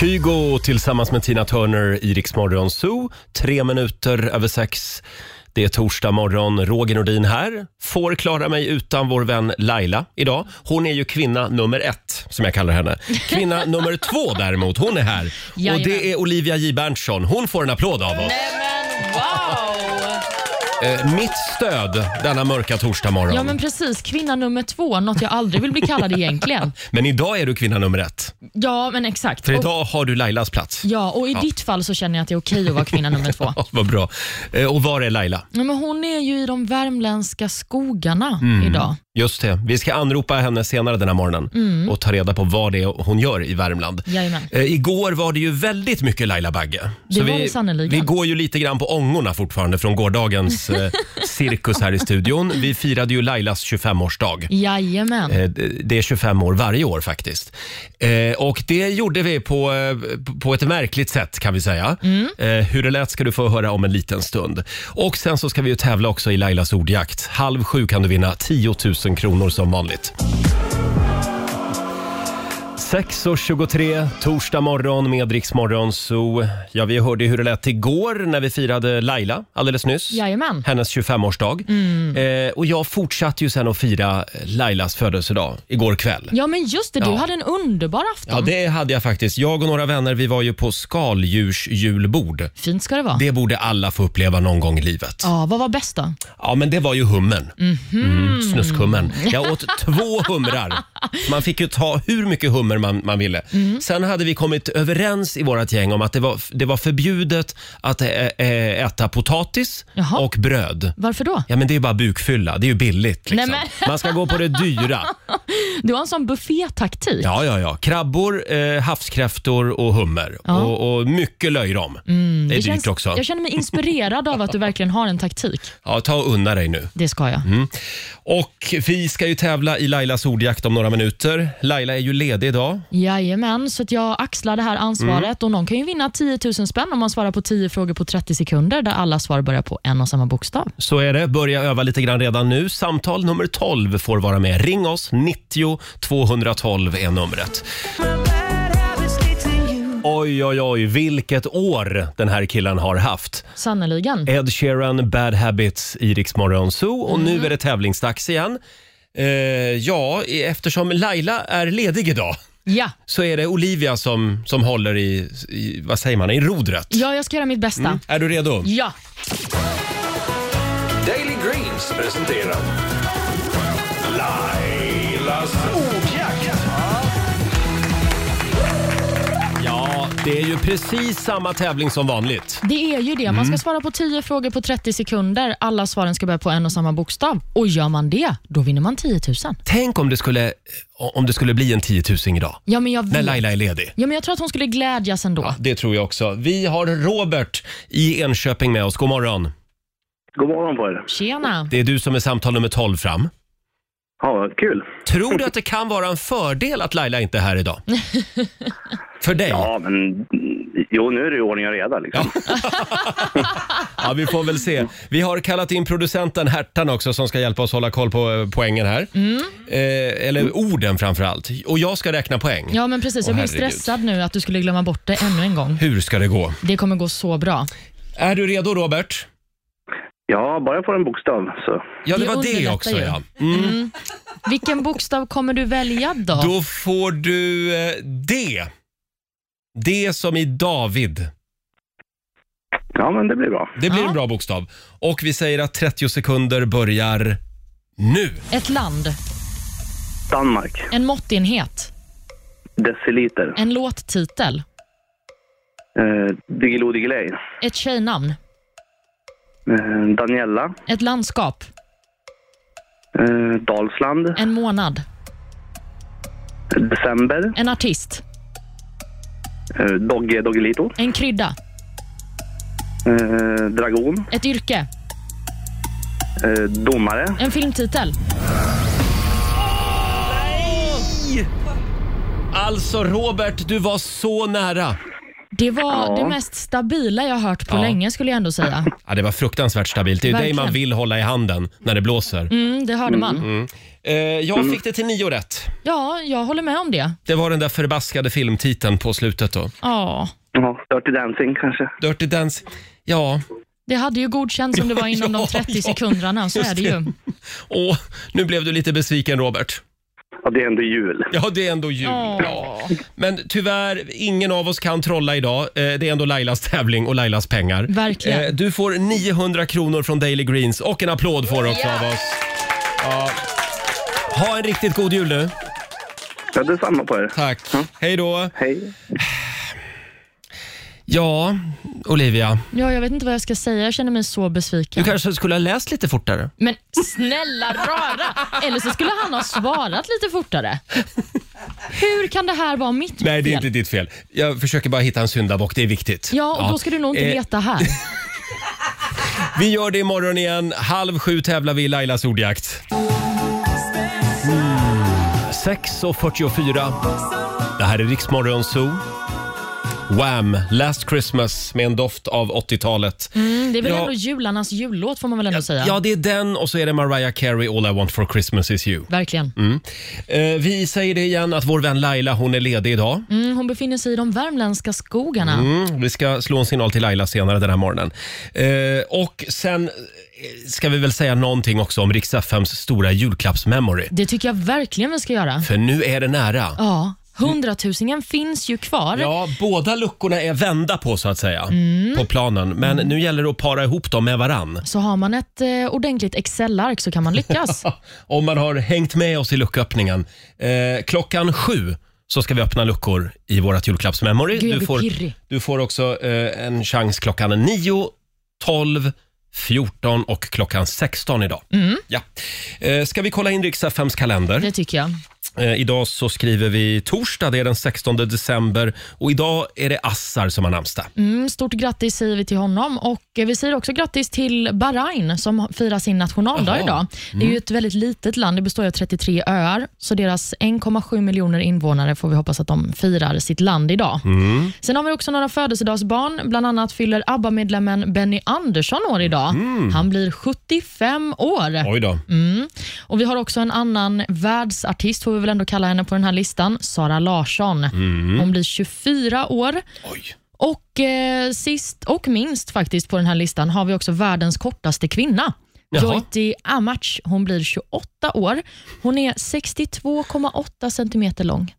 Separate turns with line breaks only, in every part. Kygo tillsammans med Tina Turner i Rix Morgon Zoo. Tre minuter över sex. Det är torsdag morgon. Roger Nordin här. Får klara mig utan vår vän Laila idag. Hon är ju kvinna nummer ett, som jag kallar henne. Kvinna nummer två däremot, hon är här. Och
Jajamän.
det är Olivia J Berntsson. Hon får en applåd av oss.
Men wow!
Eh, mitt stöd denna mörka torsdag morgon.
Ja
men...
men precis, kvinna nummer två, något jag aldrig vill bli kallad egentligen.
idag är du kvinna nummer ett.
Ja men exakt.
För
Och-
idag har du Lailas plats.
Ja, och i ditt fall så känner jag att det är okej att vara kvinna nummer två.
Ja, vad bra. Eh, och var är Laila?
Ja, men hon är ju i de värmländska skogarna
Mm.
idag.
Just det. Vi ska anropa henne senare den här morgonen
Mm.
och ta reda på vad det är hon gör i Värmland.
Jajamän.
Eh, igår var det ju väldigt mycket Laila Bagge.
Det var det sannerligen.
vi går ju lite grann på ångorna fortfarande från gårdagens eh, cirkus här i studion. Vi firade ju Lailas 25-årsdag.
Jajamän.
Eh, det- Det är 25 år varje år faktiskt. Eh, Och det gjorde vi på, eh, på ett märkligt sätt kan vi säga.
Mm.
Eh, Hur det lät ska du få höra om en liten stund. Och sen så ska vi ju tävla också i Lailas ordjakt. Halv sju kan du vinna 10 000 kronor som vanligt. 6.23, torsdag morgon med Rix Morgon Zoo. Ja, vi hörde ju hur det lät igår när vi firade Laila alldeles nyss.
Jajamän.
Hennes 25-årsdag.
Mm.
Eh, och jag fortsatte ju sen att fira Lailas födelsedag igår kväll.
Ja men just det, du
Ja.
hade en underbar
Ja,
afton.
det hade jag faktiskt. Jag och några vänner, vi var ju på skaldjursjulbord.
Fint ska det vara.
Det borde alla få uppleva någon gång i livet.
Ja, Mhm. vad var bäst då?
Ja, men det var ju hummen. Mm, snuskhummen. Jag åt två humrar. Man fick ju ta hur mycket hummer man, man ville.
Mm.
Sen hade vi kommit överens i vårt gäng om att det var, det var förbjudet att ä, ä, äta potatis
Jaha.
och bröd.
Varför då?
Ja, men det är ju bara bukfylla. Det är ju billigt. Liksom.
Nej,
Man ska gå på det dyra.
Du har en sån buffétaktik.
Ja, ja, ja. Krabbor, eh, havskräftor och hummer. Och, och mycket löjrom. det är dyrt
Mm, känns,
också.
Jag känner mig inspirerad av att du verkligen har en taktik.
Ja, ta och unna dig nu.
Det ska jag.
Och vi ska ju tävla i Lailas ordjakt om några minuter. Laila är ju ledig idag.
Jajamän, så att jag axlar det här ansvaret
Mm.
och någon kan ju vinna 10 000 spänn om man svarar på 10 frågor på 30 sekunder där alla svar börjar på en och samma bokstav.
Så är det. Börja öva lite grann redan nu. Samtal nummer 12 får vara med. Ring oss. 90 212 är numret. Oj, oj, oj. Vilket år den här killen har haft.
Sannerligen.
Ed Sheeran, Bad Habits i Rix Morgon Zoo. Och nu är det tävlingsdags igen. Eh, ja, eftersom Laila är ledig idag
Ja.
så är det Olivia som, som håller i, i, vad säger man, i rodret.
ja, jag ska göra mitt bästa.
Är du redo?
Ja.
Daily Greens presenterar Lailas ordjakt.
Ja, det är ju precis samma tävling som vanligt.
Det är ju det.
Mm.
Man ska svara på 10 frågor på 30 sekunder. Alla svaren ska börja på en och samma bokstav. Och gör man det, då vinner man 10 000.
Tänk om det skulle, om det skulle bli en 10 000 idag,
Ja, men jag
när
vet.
Laila är ledig.
Ja, men jag tror att hon skulle glädjas ändå.
Ja, det tror jag också. Vi har Robert i Enköping med oss. God morgon.
God morgon på er.
Tjena.
Det är du som är samtal nummer 12 fram.
Ja, vad kul.
Tror du att det kan vara en fördel att Laila inte är här idag? För dig?
Ja, men jo, nu är det ju ordning och reda liksom.
Ja, vi får väl se. Vi har kallat in producenten Hertan också som ska hjälpa oss hålla koll på eh, poängen här.
Mm.
Eh, eller orden framför allt. Och jag ska räkna poäng.
Ja, men precis. Jag
Åh,
blir
herregud.
stressad nu att du skulle glömma bort det ännu en gång.
Hur ska det gå?
Det kommer gå så bra.
Är du redo Robert?
Ja, bara jag får en bokstav så.
Ja, det
Det
var det
underlättar
också
ju. Mm.
ja. Mm,
Vilken bokstav kommer du välja då?
Då får du eh, D. D som i David.
Ja, men det blir bra.
Det blir
Ja.
en bra bokstav. Och vi säger att 30 sekunder börjar nu.
Ett land,
Danmark,
en måttenhet,
deciliter,
en låttitel,
eh, Diggiloo Diggiley,
ett tjejnamn,
eh, Daniella,
ett landskap,
eh, Dalsland,
en månad,
december,
en artist,
eh, Dogge Doggelito,
en krydda,
eh, Dragon,
ett yrke,
eh, domare,
en filmtitel.
Alltså Robert, du var så nära.
Det var
Ja.
det mest stabila jag hört på
Ja.
länge skulle jag ändå säga.
Ja, det var fruktansvärt stabilt. Det är ju dig
Verkligen.
man vill hålla i handen när det blåser.
Mm, det Mm, hörde man.
Eh, jag fick det till nio rätt.
Ja, jag håller med om det.
Det var den där förbaskade filmtiteln på slutet då.
Ja,
Ja, Dirty Dancing kanske.
Dirty Dance. Ja,
det hade ju godkänts om det var inom
Ja,
de 30
ja,
sekunderna, så
just
är det ju.
åh, nu blev du lite besviken Robert.
Ja, det är ändå jul.
Ja, det är ändå jul.
Ja.
Men tyvärr, ingen av oss kan trolla idag. Eh, Det är ändå Lailas tävling och Lailas pengar.
Verkligen.
Eh, Du får 900 kronor från Daily Greens och en applåd får du också
Ja.
av oss. Ja. Ha en riktigt god jul nu.
Ja, det är samma på er.
Tack. Hej då.
Hej.
Ja, Olivia.
ja, jag vet inte vad jag ska säga. Jag känner mig så
Du
besviken.
kanske skulle ha läst lite fortare?
Men snälla rara! Eller så skulle han ha svarat lite fortare. Hur kan det här vara mitt
Nej, det är
fel?
inte ditt fel. Jag försöker bara hitta en syndabock, det är viktigt.
Ja, och då ska du nog inte
Eh,
leta här.
Vi gör det imorgon igen. Halv sju tävlar vi i Lailas ordjakt. Mm. 6.44. Det här är Riksmorgon Zoo. Wham! Last Christmas med en doft av 80-talet.
Mm, det är väl
Ja.
ändå jularnas jullåt får man väl ändå säga.
Ja, det är den och så är det Mariah Carey All I want for Christmas is you.
Verkligen.
Eh, vi säger det igen att vår vän Laila hon är ledig idag.
Mm, hon befinner sig i de värmländska skogarna.
Mm, vi ska slå en signal till Laila senare den här morgonen. Eh, och sen eh, ska vi väl säga någonting också om Rix FMs stora julklappsmemory.
Det tycker jag verkligen vi ska göra.
För nu är det nära.
Ja, hundratusingen finns ju kvar.
Ja, båda luckorna är vända på så att säga,
Mm.
på planen. Men nu gäller det att para ihop dem med varann.
Så har man ett eh, ordentligt Excel-ark så kan man lyckas.
Om man har hängt med oss i lucköppningen. Eh, klockan sju så ska vi öppna luckor i vårt julklappsmemory.
Gud, jag
du,
blir
får,
pirrig.
du får också eh, en chans klockan 9, 12, 14 och klockan 16 idag.
Mm.
Ja. Eh, ska vi kolla in riks FMs kalender?
Det tycker jag.
Eh, idag så skriver vi torsdag, det är den 16 december och idag är det Assar som har namnsdag.
Mm, stort grattis säger vi till honom och eh, vi säger också grattis till Bahrain som firar sin nationaldag
Jaha. Mm.
idag. Det är ju ett väldigt litet land, det består ju av 33 öar, så deras 1,7 miljoner invånare får vi hoppas att de firar sitt land idag.
Mm.
Sen har vi också några födelsedagsbarn, bland annat fyller ABBA-medlemmen Benny Andersson år idag.
Mm.
Han blir 75 år. Mm.
Oj då.
Och Vi har också en annan världsartist, får vi väl ändå kalla henne på den här listan, Sara Larsson.
Mm.
Hon blir 24 år.
Oj.
Och eh, sist och minst faktiskt på den här listan har vi också världens kortaste kvinna.
Jaha.
Joyti Amach, hon blir 28 år. Hon är 62,8 centimeter lång.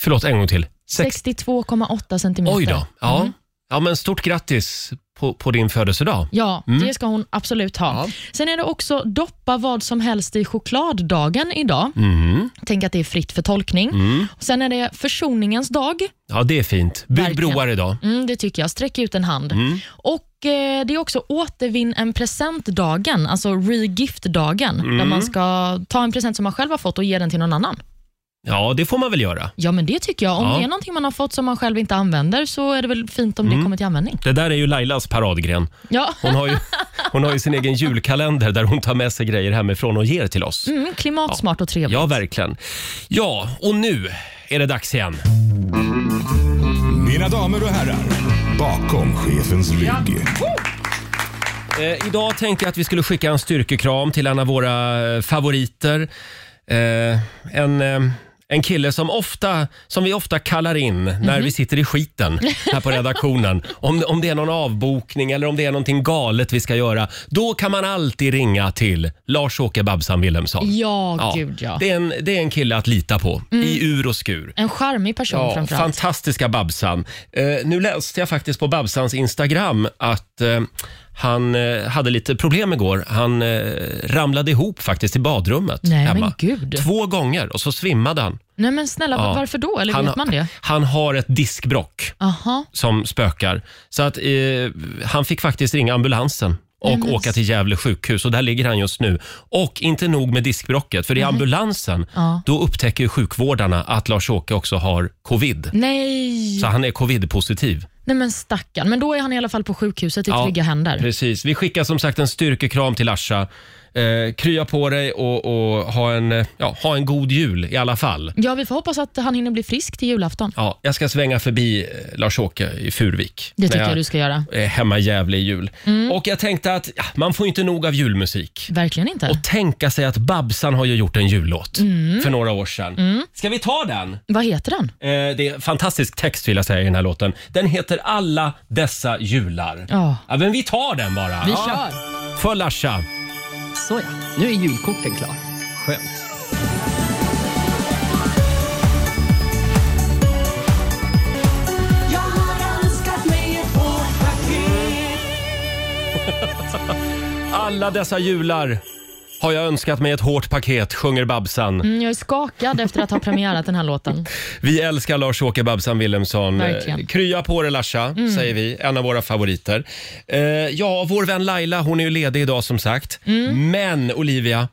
Förlåt, en gång till. Sex...
62,8 centimeter.
Oj då. Ja.
Mm.
ja, men stort grattis på, på din födelsedag.
Ja, det ska hon absolut ha.
Mm. Ja.
Sen är det också doppa vad som helst i chokladdagen idag.
Mm.
Tänk att det är fritt för tolkning. Sen är det försoningens dag.
Ja, det är fint. Bygg
Verkligen.
broar idag.
Mm, det tycker jag. Sträck ut en hand.
Mm.
Och eh, Det är också återvinn en presentdagen, alltså regift-dagen, där
Mm.
man ska ta en present som man själv har fått och ge den till någon annan.
Ja, det får man väl göra.
Ja, men det tycker jag. Om
Ja.
det är någonting man har fått som man själv inte använder så är det väl fint om det
Mm.
kommer till användning.
Det där är ju Lailas paradgren.
Ja.
Hon har ju, hon har ju sin egen julkalender där hon tar med sig grejer hemifrån och ger till oss.
Mm, klimatsmart och trevligt.
Ja, verkligen. Ja, och nu är det dags igen.
Mina damer och herrar, bakom chefens rygg.
Eh, idag tänkte jag att vi skulle skicka en styrkekram till en av våra eh, favoriter. Eh, en, eh, en kille som, ofta, som vi ofta kallar in
Mhm.
när vi sitter i skiten här på redaktionen. om, om det är någon avbokning eller om det är någonting galet vi ska göra. Då kan man alltid ringa till Lars-Åke Babsan Wilhelmsson.
Ja,
Ja,
gud ja. Mm.
Det, är en, det är en kille att lita på i ur och skur.
En charmig person
Ja,
framförallt.
fantastiska Babsan. Eh, nu läste jag faktiskt på Babsans Instagram att eh, han eh, hade lite problem igår. Han eh, ramlade ihop faktiskt i badrummet
Nej, men
hemma.
gud.
Två gånger och så svimmade han.
Nej, men snälla,
Ja.
varför då? Eller
han,
vet man det?
Han har ett diskbrock
Aha.
som spökar. Så att eh, han fick faktiskt ringa ambulansen och
men-
åka till Gävle sjukhus och där ligger han just nu. Och inte nog med diskbrocket, för i ambulansen
Ja.
då upptäcker ju sjukvårdarna att Lars-Åke också har covid.
Nej.
Så han är covid-positiv.
Nej, men stackarn. Men då är han i alla fall på sjukhuset i trygga händer.
Precis. Vi skickar som sagt en styrkekram till Asha Eh, krya på dig och, och ha, en, eh, ja, ha en god jul i alla fall.
Ja, vi får hoppas att han hinner bli frisk till julafton.
Ja, jag ska svänga förbi eh, Lars-Åke i Furvik.
Det tycker
när
jag du ska Mm. göra.
är hemma i Gävle i jul. Och jag tänkte att ja, man får ju inte nog av julmusik.
Verkligen inte.
Och tänka sig att Babsan har ju gjort en jullåt
Mm.
för några år sedan. Ska vi ta den?
Vad heter den?
Eh, det är fantastisk text vill jag säga i den här låten. Den heter Alla dessa jular.
Ja.
Ja, men vi tar den bara.
Vi
Ja.
kör!
För Larsa.
Såja, nu är julkorten klar.
Skönt.
Jag har önskat mig ett hårt paket
Alla dessa jular har jag önskat mig ett hårt paket, sjunger Babsan.
Mm, jag är skakad efter att ha premiärat den här låten.
Vi älskar Lars-Åke Babsan Wilhelmsson.
Verkligen. Mm.
Eh, Krya på dig Larsa, säger vi. En av våra favoriter. Eh, ja, vår vän Laila, hon är ju ledig idag som sagt.
Mm.
Men Olivia,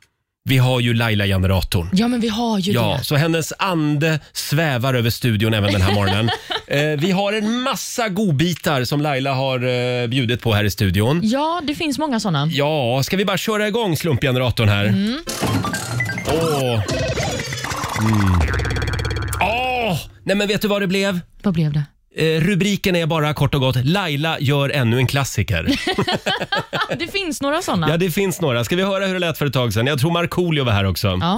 vi har ju Laila-generatorn.
Ja, men vi har ju
Ja,
det.
så hennes ande svävar över studion även den här morgonen. eh, vi har en massa godbitar som Laila har eh, bjudit på här i studion.
Ja, det finns många såna.
Ja, ska vi bara köra igång slumpgeneratorn här? Åh! Mm. Åh! Nej men vet du vad det blev?
Vad blev det?
Eh, rubriken är bara kort och gott Laila gör ännu en klassiker.
Det finns några såna.
ja, det finns några. Ska vi höra hur det lät för ett tag sedan? Jag tror Markoolio var här också. Ja.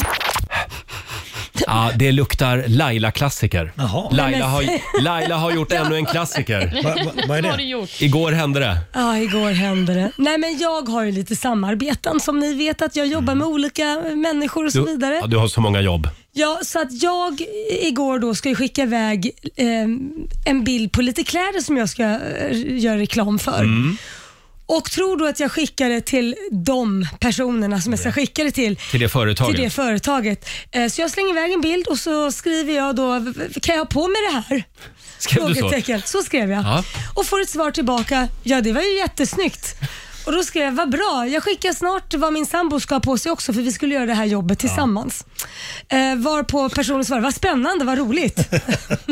Ja.
det luktar Laila-klassiker.
Jaha.
Laila har, Laila har gjort ännu en klassiker.
Va, va, vad är
Vad har du
det?
gjort?
Igår hände det.
Ja, igår hände det. Nej, men jag har ju lite samarbeten som ni vet att jag jobbar med olika människor och så
Du,
vidare.
ja, du har så många jobb.
Ja, så att jag i- igår då ska ju skicka iväg eh, en bild på lite kläder som jag ska eh, göra reklam för.
Mm.
Och tror då att jag skickar det till de personerna som jag ska skicka det till.
Till det företaget.
Till det företaget. Eh, Så jag slänger iväg en bild och så skriver jag då, "V- v- kan jag ha på mig det här?
Skrev du så?
Frågetecken. Så skrev jag.
Ja.
Och får ett svar tillbaka, ja det var ju jättesnyggt. Och då skrev jag, vad bra, jag skickar snart vad min sambo ska ha på sig också för vi skulle göra det här jobbet tillsammans. Eh, varpå personen svarade, vad spännande, vad roligt.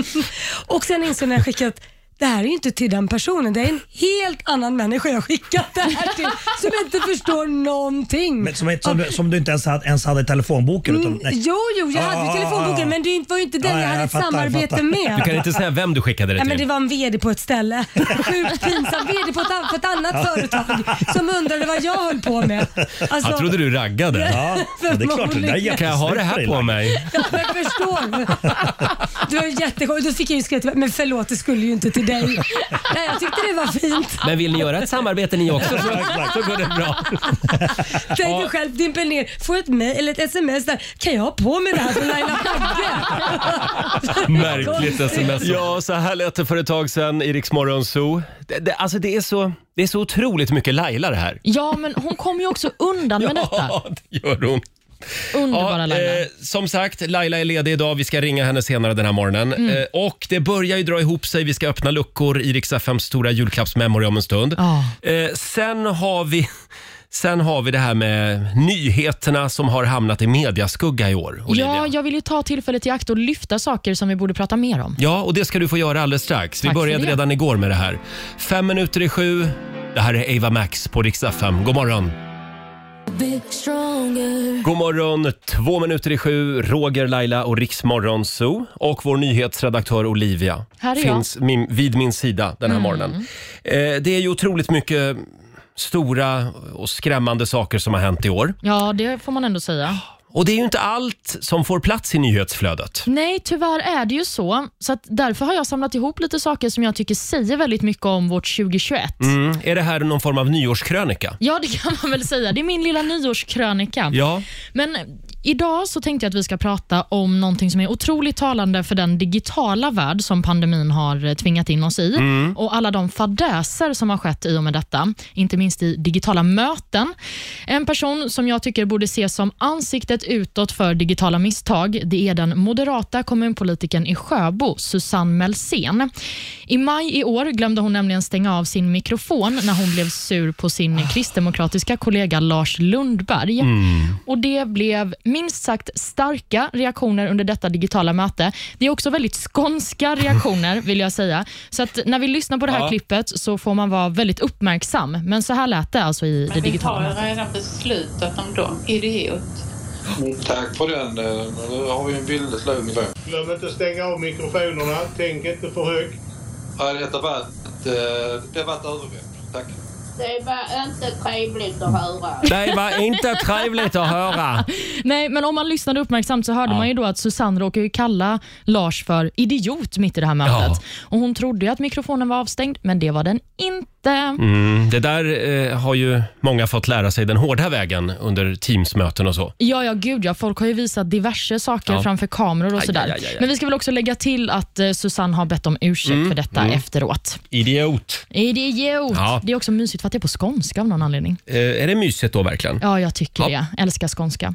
och sen insåg jag när jag skickat det här är ju inte till den personen, det är en helt annan människa jag har skickat det här till som inte förstår någonting.
Men som, ett- som, du- som du inte ens hade, ens hade i telefonboken? Utan, nej.
Jo, jo, jag hade ju
Ah,
telefonboken men det är inte- var ju inte den
Ah, ja,
jag hade
jag
ett
fattar, jag
samarbete
fattar.
med.
Du kan inte säga vem du skickade det
Nej,
till.
men det var en VD på ett ställe. Sjukt pinsamt. VD på ett, an- för ett annat företag som undrade vad jag höll på med. Alltså,
Han trodde du raggade.
Ja, ja, det är klart. Det där är
Förmodligen.
Kan jag ha det här på mig?
Ja, men jag förstår. Du var ju jättekonstig. Då fick jag ju skratta. Men förlåt, det skulle ju inte till dig. Nej, jag tyckte det var fint.
Men vill ni göra ett samarbete ni också så, så går det bra.
Tänk dig själv, dimper ner, får ett mejl eller ett sms där. Kan jag ha på mig det här från Laila Bagge?
Märkligt sms. Ja, så här lät det för ett tag sedan i Rix Morgon Zoo. Det, det, alltså det är, så, det är så otroligt mycket Laila det här.
Ja, men hon kommer ju också undan med detta.
Ja, det gör hon.
Underbara
Ja,
Laila.
eh, som sagt, Laila är ledig idag. Vi ska ringa henne senare den här morgonen.
Mm.
Eh, och det börjar ju dra ihop sig. Vi ska öppna luckor i Rix FMs stora julklappsmemory om en stund.
Ja.
Eh, sen har vi... Sen har vi det här med nyheterna som har hamnat i mediaskugga i år. Olivia.
Ja, jag vill ju ta tillfället i akt och lyfta saker som vi borde prata mer om.
Ja, och det ska du få göra alldeles strax. Vi
Tack för
började
det.
redan igår med det här. Fem minuter i sju. Det här är Ava Max på Rix FM. God morgon! God morgon! Två minuter i sju, Roger, Laila och Riksmorgon Zoo. Och vår nyhetsredaktör Olivia
Här är jag. Mm.
finns min, vid min sida den här morgonen. Eh, det är ju otroligt mycket stora och skrämmande saker som har hänt i år.
Ja, det får man ändå säga.
Och det är ju inte allt som får plats i nyhetsflödet.
Nej, tyvärr är det ju så. Så att därför har jag samlat ihop lite saker som jag tycker säger väldigt mycket om vårt 2021.
Mm. Är det här någon form av nyårskrönika?
Ja, det kan man väl säga. Det är min lilla nyårskrönika.
Ja.
Men idag så tänkte jag att vi ska prata om någonting som är otroligt talande för den digitala värld som pandemin har eh, tvingat in oss i och alla de fadäser som har skett i och med detta, inte minst i digitala möten. En person som jag tycker borde ses som ansiktet Namnet utåt för digitala misstag det är den moderata kommunpolitikern i Sjöbo, Susanne Melsén. I maj i år glömde hon nämligen stänga av sin mikrofon när hon blev sur på sin kristdemokratiska kollega Lars Lundberg. Och Det blev minst sagt starka reaktioner under detta digitala möte. Det är också väldigt skånska reaktioner, vill jag säga. Så att när vi lyssnar på det här
Ja.
klippet så får man vara väldigt uppmärksam. Men så här lät det alltså i det
Men vi
digitala
tar
mötet.
redan beslutat om dem. Idiot.
Tack för den. Nu har vi en väldigt låg nivå.
Glöm inte att stänga av mikrofonerna. Tänk inte för högt.
Ja, detta var ett, eh, det var ett övergrepp. Tack.
Det var inte trevligt att höra.
Det var inte trevligt att höra.
Nej, men om man lyssnade uppmärksamt så hörde
Ja.
man ju då att Susanne råkade ju kalla Lars för idiot mitt i det här mötet.
Ja.
Och Hon trodde ju att mikrofonen var avstängd, men det var den inte.
Mm, det där eh, har ju många fått lära sig den hårda vägen under Teamsmöten och så.
Ja, ja, gud ja. Folk har ju visat diverse saker
Ja.
framför kameror och
Aj,
sådär.
aj, aj, aj.
Men vi ska väl också lägga till att eh, Susanne har bett om ursäkt
Mm,
för detta
mm.
efteråt.
Idiot.
Idiot!
Ja.
Det är också mysigt för att det är på skånska av någon anledning.
Eh, är det mysigt då verkligen?
Ja, jag tycker det. Älskar skånska.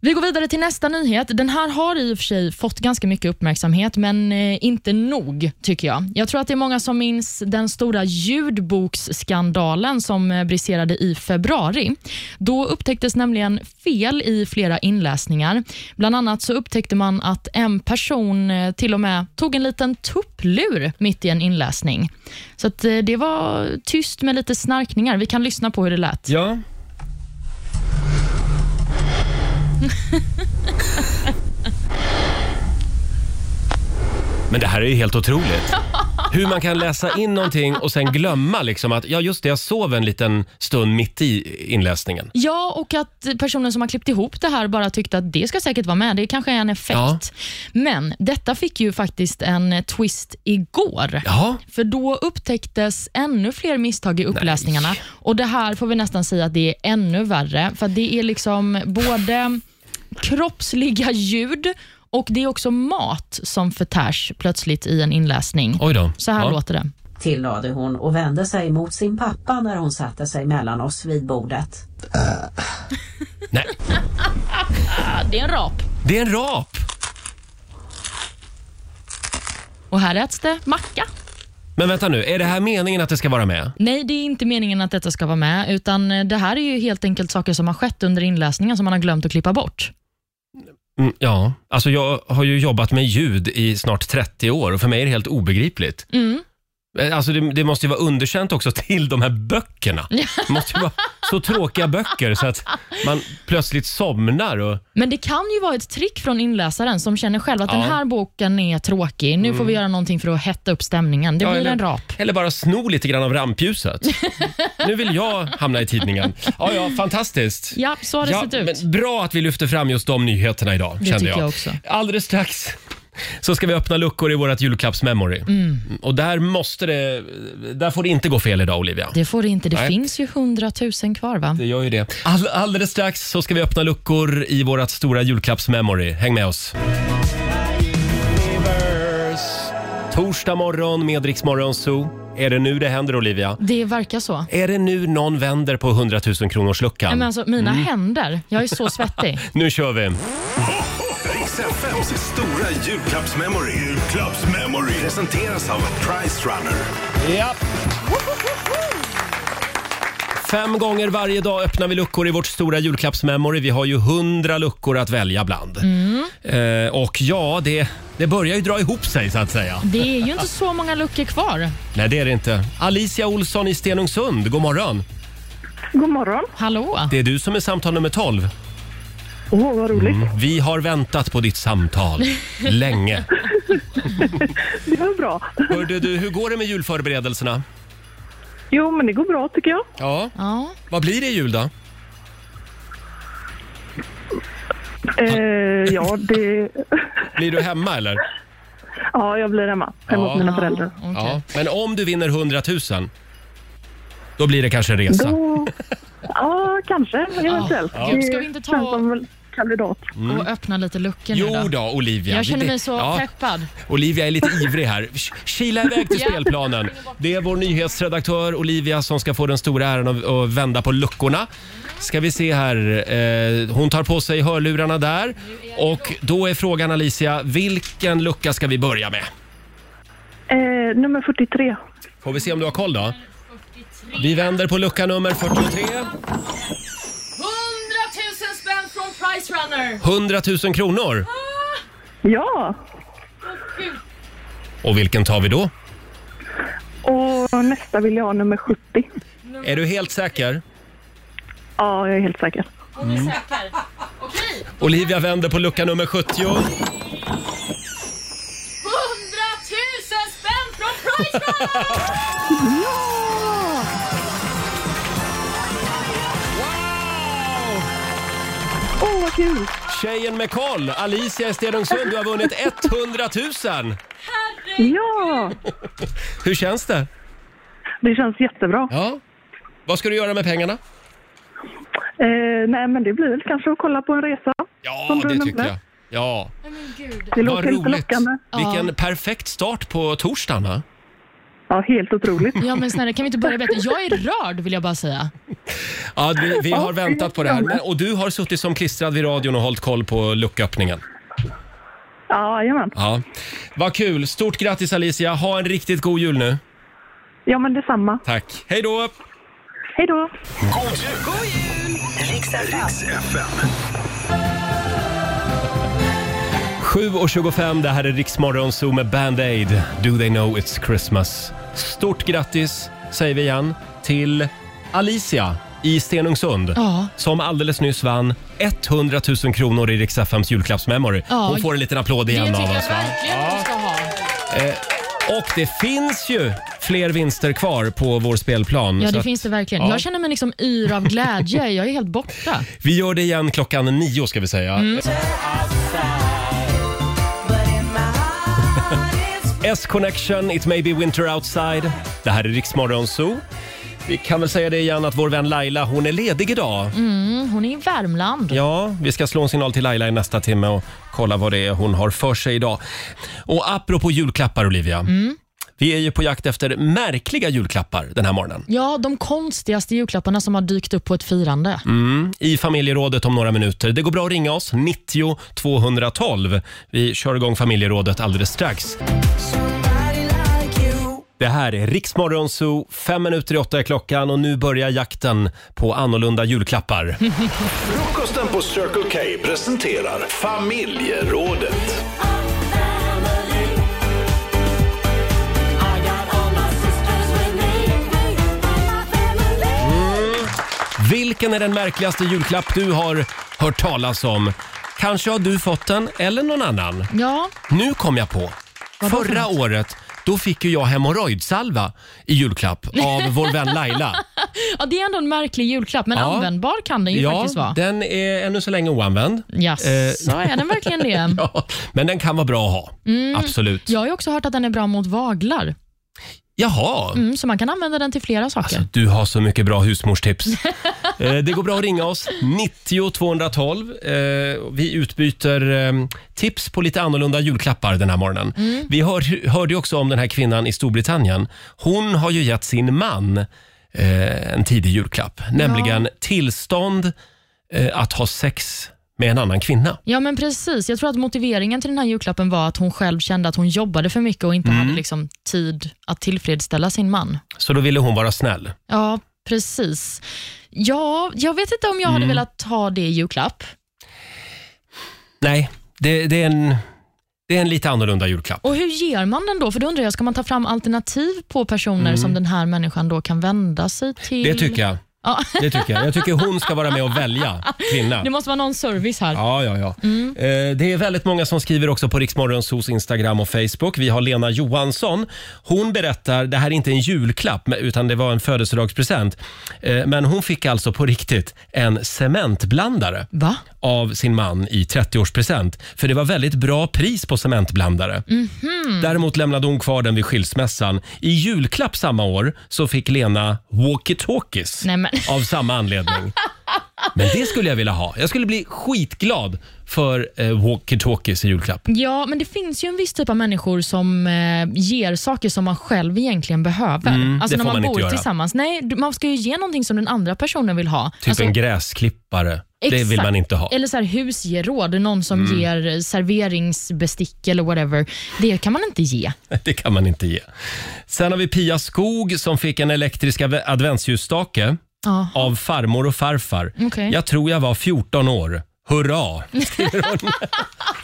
Vi går vidare till nästa nyhet. Den här har i och för sig fått ganska mycket uppmärksamhet, men eh, inte nog tycker jag. Jag tror att det är många som minns den stora ljudboksskandalen som eh, briserade i februari. Då upptäcktes nämligen fel i flera inläsningar. Bland annat så upptäckte man att en person eh, till och med tog en liten tupplur mitt i en inläsning. Så att eh, det var tyst med lite snarkningar. Vi kan lyssna på hur det lät.
Ja. Men det här är ju helt otroligt. Hur man kan läsa in någonting och sen glömma liksom att ja just det, jag sov en liten stund mitt i inläsningen.
Ja, och att personen som har klippt ihop det här bara tyckte att det ska säkert vara med. Det kanske är en effekt.
Ja.
Men detta fick ju faktiskt en twist igår. För då upptäcktes ännu fler misstag i uppläsningarna. Och Det här får vi nästan säga att det är ännu värre. För det är liksom både kroppsliga ljud och det är också mat som förtärs plötsligt i en inläsning.
Oj då.
Så här
Ja.
låter det.
tillade hon och vände sig mot sin pappa när hon satte sig mellan oss vid bordet.
Ah, det är en rap.
Det är en rap!
Och här äts det macka.
Men vänta nu, är det här meningen att det ska vara med?
Nej, det är inte meningen att detta ska vara med, utan eh, det här är ju helt enkelt saker som har skett under inläsningen som man har glömt att klippa bort.
Mm, ja, alltså jag har ju jobbat med ljud i snart 30 år och för mig är det helt obegripligt.
Mm.
Eh, Alltså det, det måste ju vara underkänt också till de här böckerna. Det måste ju vara så tråkiga böcker så att man plötsligt somnar. Och,
Men det kan ju vara ett trick från inläsaren som känner själv att
Ja.
den här boken är tråkig. Nu
Mm.
får vi göra någonting för att hetta upp stämningen. Det
Ja,
blir
eller-
en rap.
Eller bara sno lite grann av rampljuset. nu vill jag hamna i tidningen. Ja, ja, fantastiskt.
Ja, så har det
Ja,
sett ut.
men bra att vi lyfter fram just de nyheterna idag,
Det
kände
tycker
jag.
jag också.
Alldeles strax så ska vi öppna luckor i vårt julklappsmemory.
Mm.
Och där måste det, där får det inte gå fel idag Olivia.
Det får det inte. Det
Nej.
finns ju hundratusen kvar va?
Det gör ju det. All, alldeles strax så ska vi öppna luckor i vårt stora julklappsmemory. Häng med oss. Torsdag morgon med Rix Morgon Zoo. Är det nu det händer Olivia?
Det verkar så.
Är det nu någon vänder på 100 000 kronors
Nej,
luckan?
Men alltså, mina
Mm.
händer. Jag är så svettig.
Nu kör vi!
Riks FMs stora julklappsmemory. Julklappsmemory. Presenteras av Price Runner.
Ja. Fem gånger varje dag öppnar vi luckor i vårt stora julklappsmemory. Vi har ju 100 luckor att välja bland.
Mm.
Eh, och ja, det, det börjar ju dra ihop sig så att säga.
Det är ju inte så många luckor kvar.
Nej, det är det inte. Alicia Olsson i Stenungsund, god morgon.
God morgon.
Hallå.
Det är du som är samtal nummer 12.
Åh, vad roligt.
Vi har väntat på ditt samtal länge.
Det var bra.
Hörde du, hur går det med julförberedelserna?
Jo, men det går bra tycker jag.
Ja.
ja.
Vad blir det i jul då?
Eh, ja, det...
Blir du hemma eller?
ja, jag blir hemma. Hemma hos mina föräldrar.
Ja. Men om du vinner 100 000, då blir det kanske en resa.
Då... Ja, kanske. Eventuellt.
Ja.
Det
Gud, ska vi
inte
känns som kandidat.
Mm.
Och öppna lite luckor nu
Jo då, Olivia.
Jag känner
Det-
mig så
ja.
peppad.
Olivia är lite ivrig här. K- Kila iväg till
Ja.
spelplanen. Det är vår nyhetsredaktör Olivia som ska få den stora äran av- att vända på luckorna. Ska vi se här. Eh, Hon tar på sig hörlurarna där. Och då är frågan Alicia, vilken lucka ska vi börja med?
Eh, nummer 43.
Får vi se om du har koll då? Vi vänder på lucka nummer 43.
000 spänn från Price Runner!
100 000 kronor.
Ja!
Och vilken tar vi då?
Och nästa vill jag ha nummer 70.
Är du helt säker?
Ja, jag är helt säker.
Mm. Olivia vänder på lucka nummer 70.
100 000 spänn från Price
Ja! Åh, vad kul!
Tjejen med koll, Alicia i Stenungsund, du har vunnit 100 000!
Ja!
Hur känns det?
Det känns jättebra.
Ja. Vad ska du göra med pengarna?
Eh, nej, men det blir väl kanske att kolla på en resa.
Ja,
Som du
det
nämnde.
tycker jag. Ja.
Det
Vad
låter lite
roligt.
lockande.
Vilken perfekt start på torsdagen, va?
Ja, helt otroligt.
Ja men snälla kan vi inte börja bättre? Jag är rörd vill jag bara säga.
Ja, vi, vi har väntat på det här. Men, och du har suttit som klistrad vid radion och hållit koll på lucköppningen.
Ja, jajamän.
Ja. Vad kul! Stort grattis Alicia! Ha en riktigt god jul nu.
Ja, men detsamma.
Tack! Hej då!
Hej då!
God jul! God jul! Riks FM.
7.25, det här är Riksmorgon Zoo med Band-Aid. Do they know it's Christmas? Stort grattis säger vi igen till Alicia i Stenungsund
Ja.
som alldeles nyss vann 100 000 kronor i Rix FMs julklappsmemory.
Ja.
Hon får en liten applåd igen av oss. va?
verkligen att du ska ha.
Eh, och det finns ju fler vinster kvar på vår spelplan.
Ja
så
det
att
finns det verkligen.
Ja.
Jag känner mig liksom yr av glädje. Jag är helt borta.
Vi gör det igen klockan nio ska vi säga.
Mm.
S-Connection, It May Be Winter Outside. Det här är Riksmorgon Zoo. Vi kan väl säga det igen att vår vän Laila, hon är ledig idag.
Mm, hon är i Värmland.
Ja, vi ska slå en signal till Laila i nästa timme och kolla vad det är hon har för sig idag. Och apropå julklappar Olivia. Vi är ju på jakt efter märkliga julklappar den här morgonen.
Ja, de konstigaste julklapparna som har dykt upp på ett firande.
Mm, I familjerådet om några minuter. Det går bra att ringa oss, 90 212. Vi kör igång familjerådet alldeles strax. Det här är Riksmorgon Zoo, fem minuter i åtta är klockan och nu börjar jakten på annorlunda julklappar.
Frukosten på Circle K presenterar familjerådet.
Vilken är den märkligaste julklapp du har hört talas om? Kanske har du fått den, eller någon annan.
Ja.
Nu kom jag på.
Vad då för
Förra året då fick ju jag hemorrojdsalva i julklapp av vår vän Laila.
ja, det är ändå en märklig julklapp, men
Ja.
användbar kan den ju faktiskt vara.
den är ännu så länge oanvänd.
Jaså, är den verkligen det?
eh, ja, men den kan vara bra att ha.
Mm.
Absolut.
Jag har ju också hört att den är bra mot vaglar,
Jaha,
mm, så man kan använda den till flera saker.
du har så mycket bra husmorstips. eh, det går bra att ringa oss, 90 212. Eh, vi utbyter eh, tips på lite annorlunda julklappar den här morgonen.
Mm.
Vi hör, hörde ju också om den här kvinnan i Storbritannien. Hon har ju gett sin man eh, en tidig julklapp, nämligen tillstånd eh, att ha sex med en annan kvinna.
Ja, men precis. Jag tror att motiveringen till den här julklappen var att hon själv kände att hon jobbade för mycket och inte
Mm.
hade liksom tid att tillfredsställa sin man.
Så då ville hon vara snäll.
Ja, precis. Ja, jag vet inte om jag hade
Mm.
velat ha det i julklapp.
Nej, det, det, är, en, det är en lite annorlunda julklapp.
Och hur ger man den då? För då undrar jag, ska man ta fram alternativ på personer
Mm.
som den här människan då kan vända sig till?
Det tycker jag.
Ja.
Det tycker jag. Jag tycker hon ska vara med och välja kvinna.
Det måste vara någon service här.
Ja, ja, ja. Eh, Det är väldigt många som skriver också på Riksmorgonsos Instagram och Facebook. Vi har Lena Johansson. Hon berättar, det här är inte en julklapp men- utan det var en födelsedagspresent. Eh, Men hon fick alltså på riktigt en cementblandare av sin man i 30-årspresent. För det var väldigt bra pris på cementblandare.
Mhm.
Däremot lämnade hon kvar den vid skilsmässan. I julklapp samma år så fick Lena walkie-talkies
Nej, men.
av samma anledning. Men det skulle jag vilja ha. Jag skulle bli skitglad för eh, walkie-talkies i julklapp. Typ
Ja, men det finns ju en viss typ av människor som eh, ger saker som man själv egentligen behöver.
Mm,
alltså
det
när
får
man,
man inte
bor
göra.
tillsammans. Nej, du- man ska ju ge någonting som den andra personen vill ha.
Typ en gräsklippare. Det vill
Alltså- Exakt.
man inte ha.
Eller så här husgeråd, någon som
Mm.
ger serveringsbestick eller whatever. Det kan man inte ge.
Det kan man inte ge. Sen har vi Pia Skog som fick en elektrisk adve- adventsljusstake
Ja.
av farmor och farfar.
Okej.
Jag tror jag var 14 år. Hurra!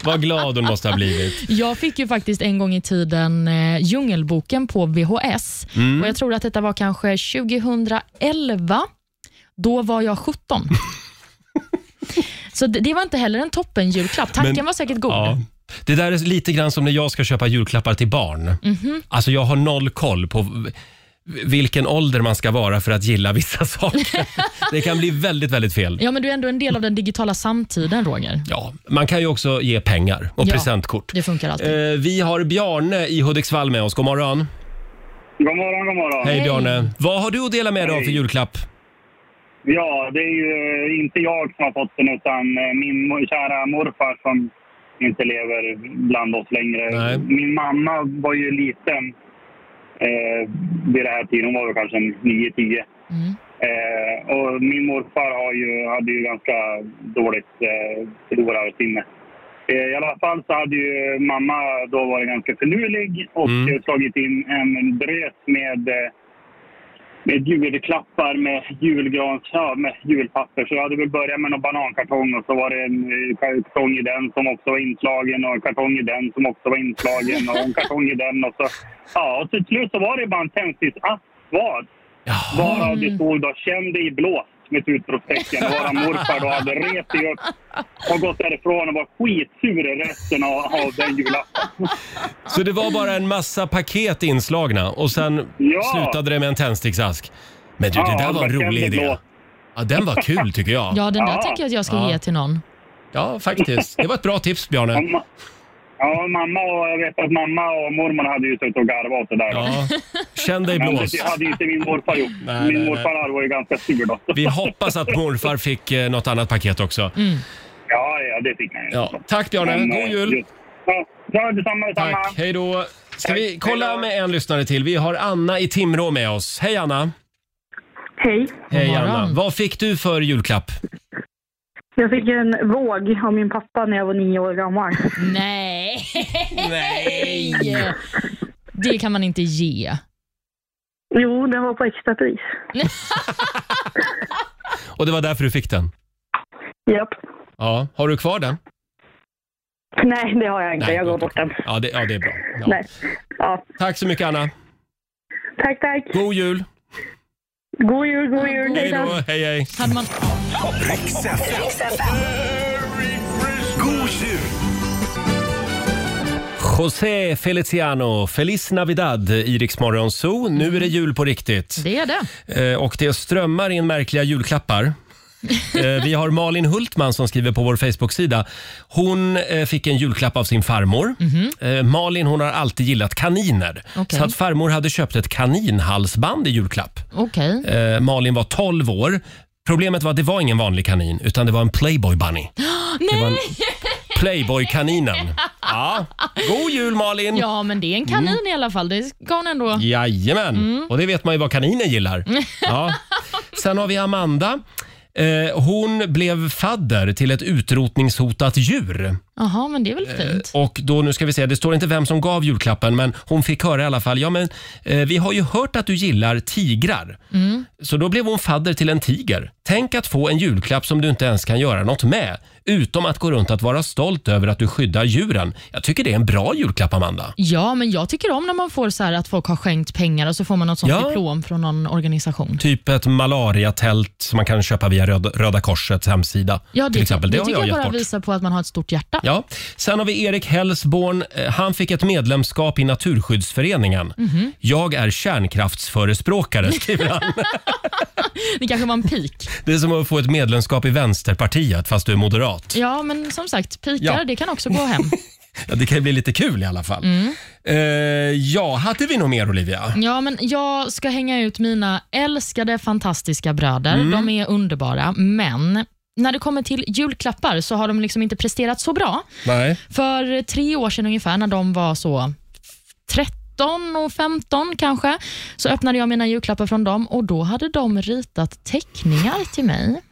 Vad glad hon måste ha blivit.
Jag fick ju faktiskt en gång i tiden eh, Djungelboken på VHS.
Mm.
Och Jag tror att detta var kanske 2011. Då var jag 17. Så det, det var inte heller en toppen julklapp. Tanken
Men-
var säkert god.
Ja. Det där är lite grann som när jag ska köpa julklappar till barn.
Mhm.
Alltså jag har noll koll på v- vilken ålder man ska vara för att gilla vissa saker. Det kan bli väldigt, väldigt fel.
Ja, men du är ändå en del av den digitala samtiden, Roger.
Ja, Man kan ju också ge pengar och
Ja.
presentkort.
Det funkar alltid.
Eh, vi har Bjarne i Hudiksvall med oss. God morgon.
God morgon, god morgon.
Hej Bjarne. Vad har du att dela med dig av för
Hej.
julklapp?
Ja, det är ju eh, inte jag som har fått den utan eh, min mo- kära morfar som inte lever bland oss längre.
Nej.
Min mamma var ju liten eh, vid den här tiden. Hon var väl kanske 9-10. Eh, och min morfar har ju, hade ju ganska dåligt eh, förlorarsinne. Eh, I alla fall så hade ju mamma då varit ganska finurlig och eh, slagit in en drös med eh, med julklappar, med julgrans, ja, med julpapper. Så jag hade väl börjat med någon banankartong och så var det en eh, kartong i den som också var inslagen och en kartong i den som också var inslagen och en kartong i den och så... Ja, och till slut så var det bara en tändsticksask kvar. Varav det stod då “Känn dig blåst” med ett utropstecken. Och Våra morfar då hade rest sig upp och gått därifrån och var skitsur resten av, av den julafton.
Så det var bara en massa paket inslagna och sen
Ja.
slutade det med en tändsticksask. Men du,
Ja,
det där var en
verkligen
rolig
det
idé.
blå.
Ja, den var kul tycker jag.
Ja, den där tänker jag att jag ska
Ja.
ge till någon.
Ja, faktiskt. Det var ett bra tips Bjarne.
Mamma- Ja, mamma och jag vet att mamma och mormor hade ju suttit och garvat åt det där.
Ja. Känn dig
Men
blåst.
Det hade ju inte min morfar gjort.
Nej,
min
nej,
morfar var ju ganska sur då.
Vi hoppas att morfar fick eh, något annat paket också.
Mm.
Ja, ja, det fick han ju.
Ja. Tack Bjarne,
Men,
god
eh,
jul!
just- Ja, ja, dus detsamma, detsamma.
Tack, hej då. Ska vi kolla med en lyssnare till? Vi har Anna i Timrå med oss. Hej Anna!
Hej.
Hej Anna! Vad fick du för julklapp?
Jag fick en våg av min pappa när jag var nio år gammal.
Nej. Nej! Det kan man inte ge.
Jo, den var på extrapris.
Och det var därför du fick den?
Japp.
Ja, har du kvar den?
Nej, det har jag inte.
Nej,
jag går bort den.
Ja, det, ja, det är bra. Ja.
Nej. Ja.
Tack så mycket Anna.
Tack, tack.
God jul!
God jul, god jul.
Hej då, hej hej!
Hade man...
Riks FM. God jul!
José Feliciano, Feliz Navidad i Rix Morgon Zoo. Nu är det jul på riktigt.
Det är det.
Eh, Och det strömmar in märkliga julklappar. Eh, Vi har Malin Hultman som skriver på vår Facebook-sida. Hon eh, fick en julklapp av sin farmor. Eh, Malin hon har alltid gillat kaniner.
Okej.
Så att farmor hade köpt ett kaninhalsband i julklapp.
Okej.
Eh, Malin var 12 år. Problemet var att det var ingen vanlig kanin, utan det var en Playboy Bunny. Det var en Playboy-kaninen. Ja. God jul Malin!
Ja, men det är en kanin
Mm.
i alla fall. Det ska hon ändå...
Jajamän, och det vet man ju vad kaniner gillar. Ja. Sen har vi Amanda. Eh, hon blev fadder till ett utrotningshotat djur.
Jaha, men det är väl fint.
Eh, Och då, nu ska vi se, det står inte vem som gav julklappen, men hon fick höra i alla fall, ja men eh, vi har ju hört att du gillar tigrar.
Mm.
Så då blev hon fadder till en tiger. Tänk att få en julklapp som du inte ens kan göra något med, utom att gå runt att vara stolt över att du skyddar djuren. Jag tycker det är en bra julklapp, Amanda.
Ja, men jag tycker om när man får så här att folk har skänkt pengar och så får man något sånt
Ja.
diplom från någon organisation.
Typ ett malariatält som man kan köpa via Röda, Röda Korsets hemsida.
Ja, det,
till exempel.
det,
Det, har
tycker
jag
jag,
gett
bara
bort.
visar på att man har ett stort hjärta.
Ja. Sen har vi Erik Hellsborn. Eh, Han fick ett medlemskap i Naturskyddsföreningen.
Mhm.
Jag är kärnkraftsförespråkare, skriver han.
Det kanske var en pik.
Det är som att få ett medlemskap i Vänsterpartiet fast du är moderat.
Ja, men som sagt, pikar
Ja.
det kan också gå hem.
Ja, det kan ju bli lite kul i alla fall.
Mm.
Eh, ja, hade vi något mer Olivia?
Ja, men jag ska hänga ut mina älskade fantastiska bröder.
Mm.
De är underbara, men när det kommer till julklappar så har de liksom inte presterat så bra.
Nej.
För tre år sedan ungefär, när de var så 13 och 15 kanske, så öppnade jag mina julklappar från dem och då hade de ritat teckningar till mig.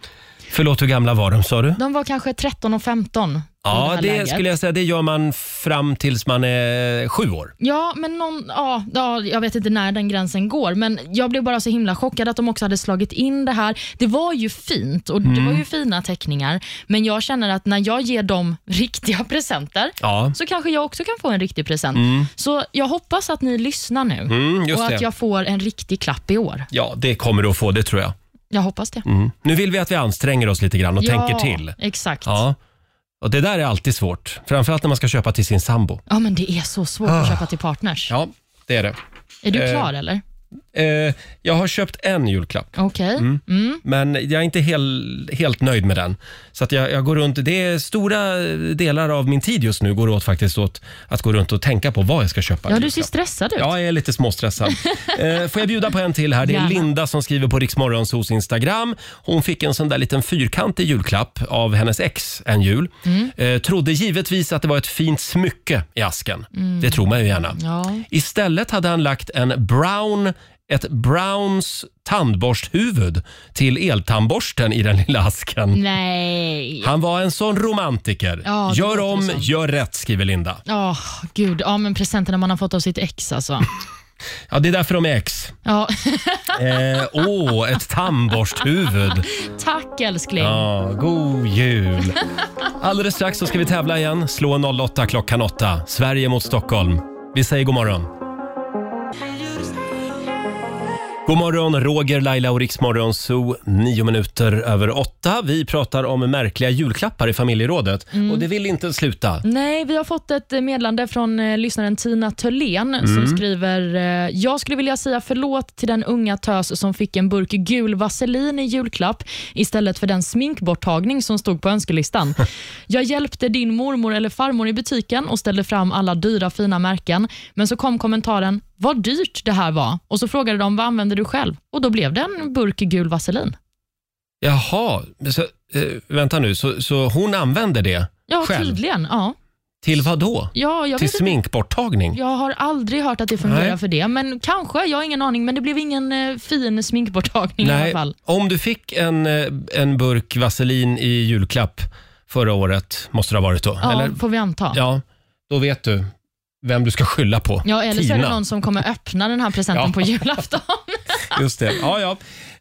Förlåt, hur gamla var de sa du?
De var kanske 13 och 15. i
Ja, det
här läget.
skulle jag säga. Det gör man fram tills man är sju år.
Ja, men någon, ja, ja, jag vet inte när den gränsen går, men jag blev bara så himla chockad att de också hade slagit in det här. Det var ju fint och det
Mm.
var ju fina teckningar, men jag känner att när jag ger dem riktiga presenter
Ja.
så kanske jag också kan få en riktig present.
Mm.
Så jag hoppas att ni lyssnar nu
Mm, just
och att
det.
jag får en riktig klapp i år.
Ja, det kommer du att få, det tror jag.
Jag hoppas det.
Mm. Nu vill vi att vi anstränger oss lite grann och
ja,
tänker till.
Exakt. Ja.
Ja. Och det där är alltid svårt. Framförallt när man ska köpa till sin sambo.
men det är så svårt att
Ah.
köpa till partners.
Ja, det är det.
Är du
Eh,
klar eller?
Eh, jag har köpt en julklapp.
Okej.
Mm.
Mm.
Men jag är inte hel, helt nöjd med den. Så att jag, jag går runt, det är stora delar av min tid just nu går åt faktiskt åt att gå runt och tänka på vad jag ska köpa.
Ja,
i
du ser
julklapp.
stressad ut.
Ja, jag är lite småstressad. eh, får jag bjuda på en till här? Det är
Gärna.
Linda som skriver på Riksmorgonsos Instagram. Hon fick en sån där liten fyrkantig julklapp av hennes ex en jul.
Mm.
Eh, trodde givetvis att det var ett fint smycke i asken.
Mm.
Det tror man ju gärna.
Ja.
Istället hade han lagt en brown, ett Browns tandborsthuvud till eltandborsten i den lilla asken.
Nej.
Han var en sån romantiker.
Mm. Ja, det
gör
låter
om,
så.
gör rätt, skriver Linda.
Ja, gud. Ja, men presenterna man har fått av sitt ex alltså.
Ja, det är därför de är ex.
Ja.
Eh, åh, ett tandborsthuvud.
Tack älskling.
Ja, god jul. Alldeles strax så ska vi tävla igen. Slå en 08 klockan 8. Sverige mot Stockholm. Vi säger god morgon. God morgon, Roger, Laila och Riksmorgon Zoo. Nio minuter över åtta. Vi pratar om märkliga julklappar i familjerådet
Mm.
och det vill inte sluta.
Nej, vi har fått ett meddelande från eh, lyssnaren Tina Törlén
Mm.
som skriver eh, “Jag skulle vilja säga förlåt till den unga tös som fick en burk gul vaselin i julklapp istället för den sminkborttagning som stod på önskelistan. Jag hjälpte din mormor eller farmor i butiken och ställde fram alla dyra fina märken, men så kom kommentaren “Vad dyrt det här var” och så frågade de “Vad använder du själv?” och då blev det en burk gul vaselin.
Jaha, så, eh, vänta nu, så, så hon använder det
Ja,
själv?
tydligen. Ja.
Till vad då?
Ja, jag
Till
vet inte.
sminkborttagning?
Jag har aldrig hört att det fungerar
Nej.
för det, men kanske. Jag har ingen aning, men det blev ingen eh, fin sminkborttagning i alla fall.
om du fick en, eh, en burk vaselin i julklapp förra året, måste det ha varit då?
Ja,
eller?
får vi anta.
Ja, då vet du vem du ska skylla på.
Ja, eller så är det
Tina.
någon som kommer öppna den här presenten
Ja.
på julafton.
Just det. Ja, ja.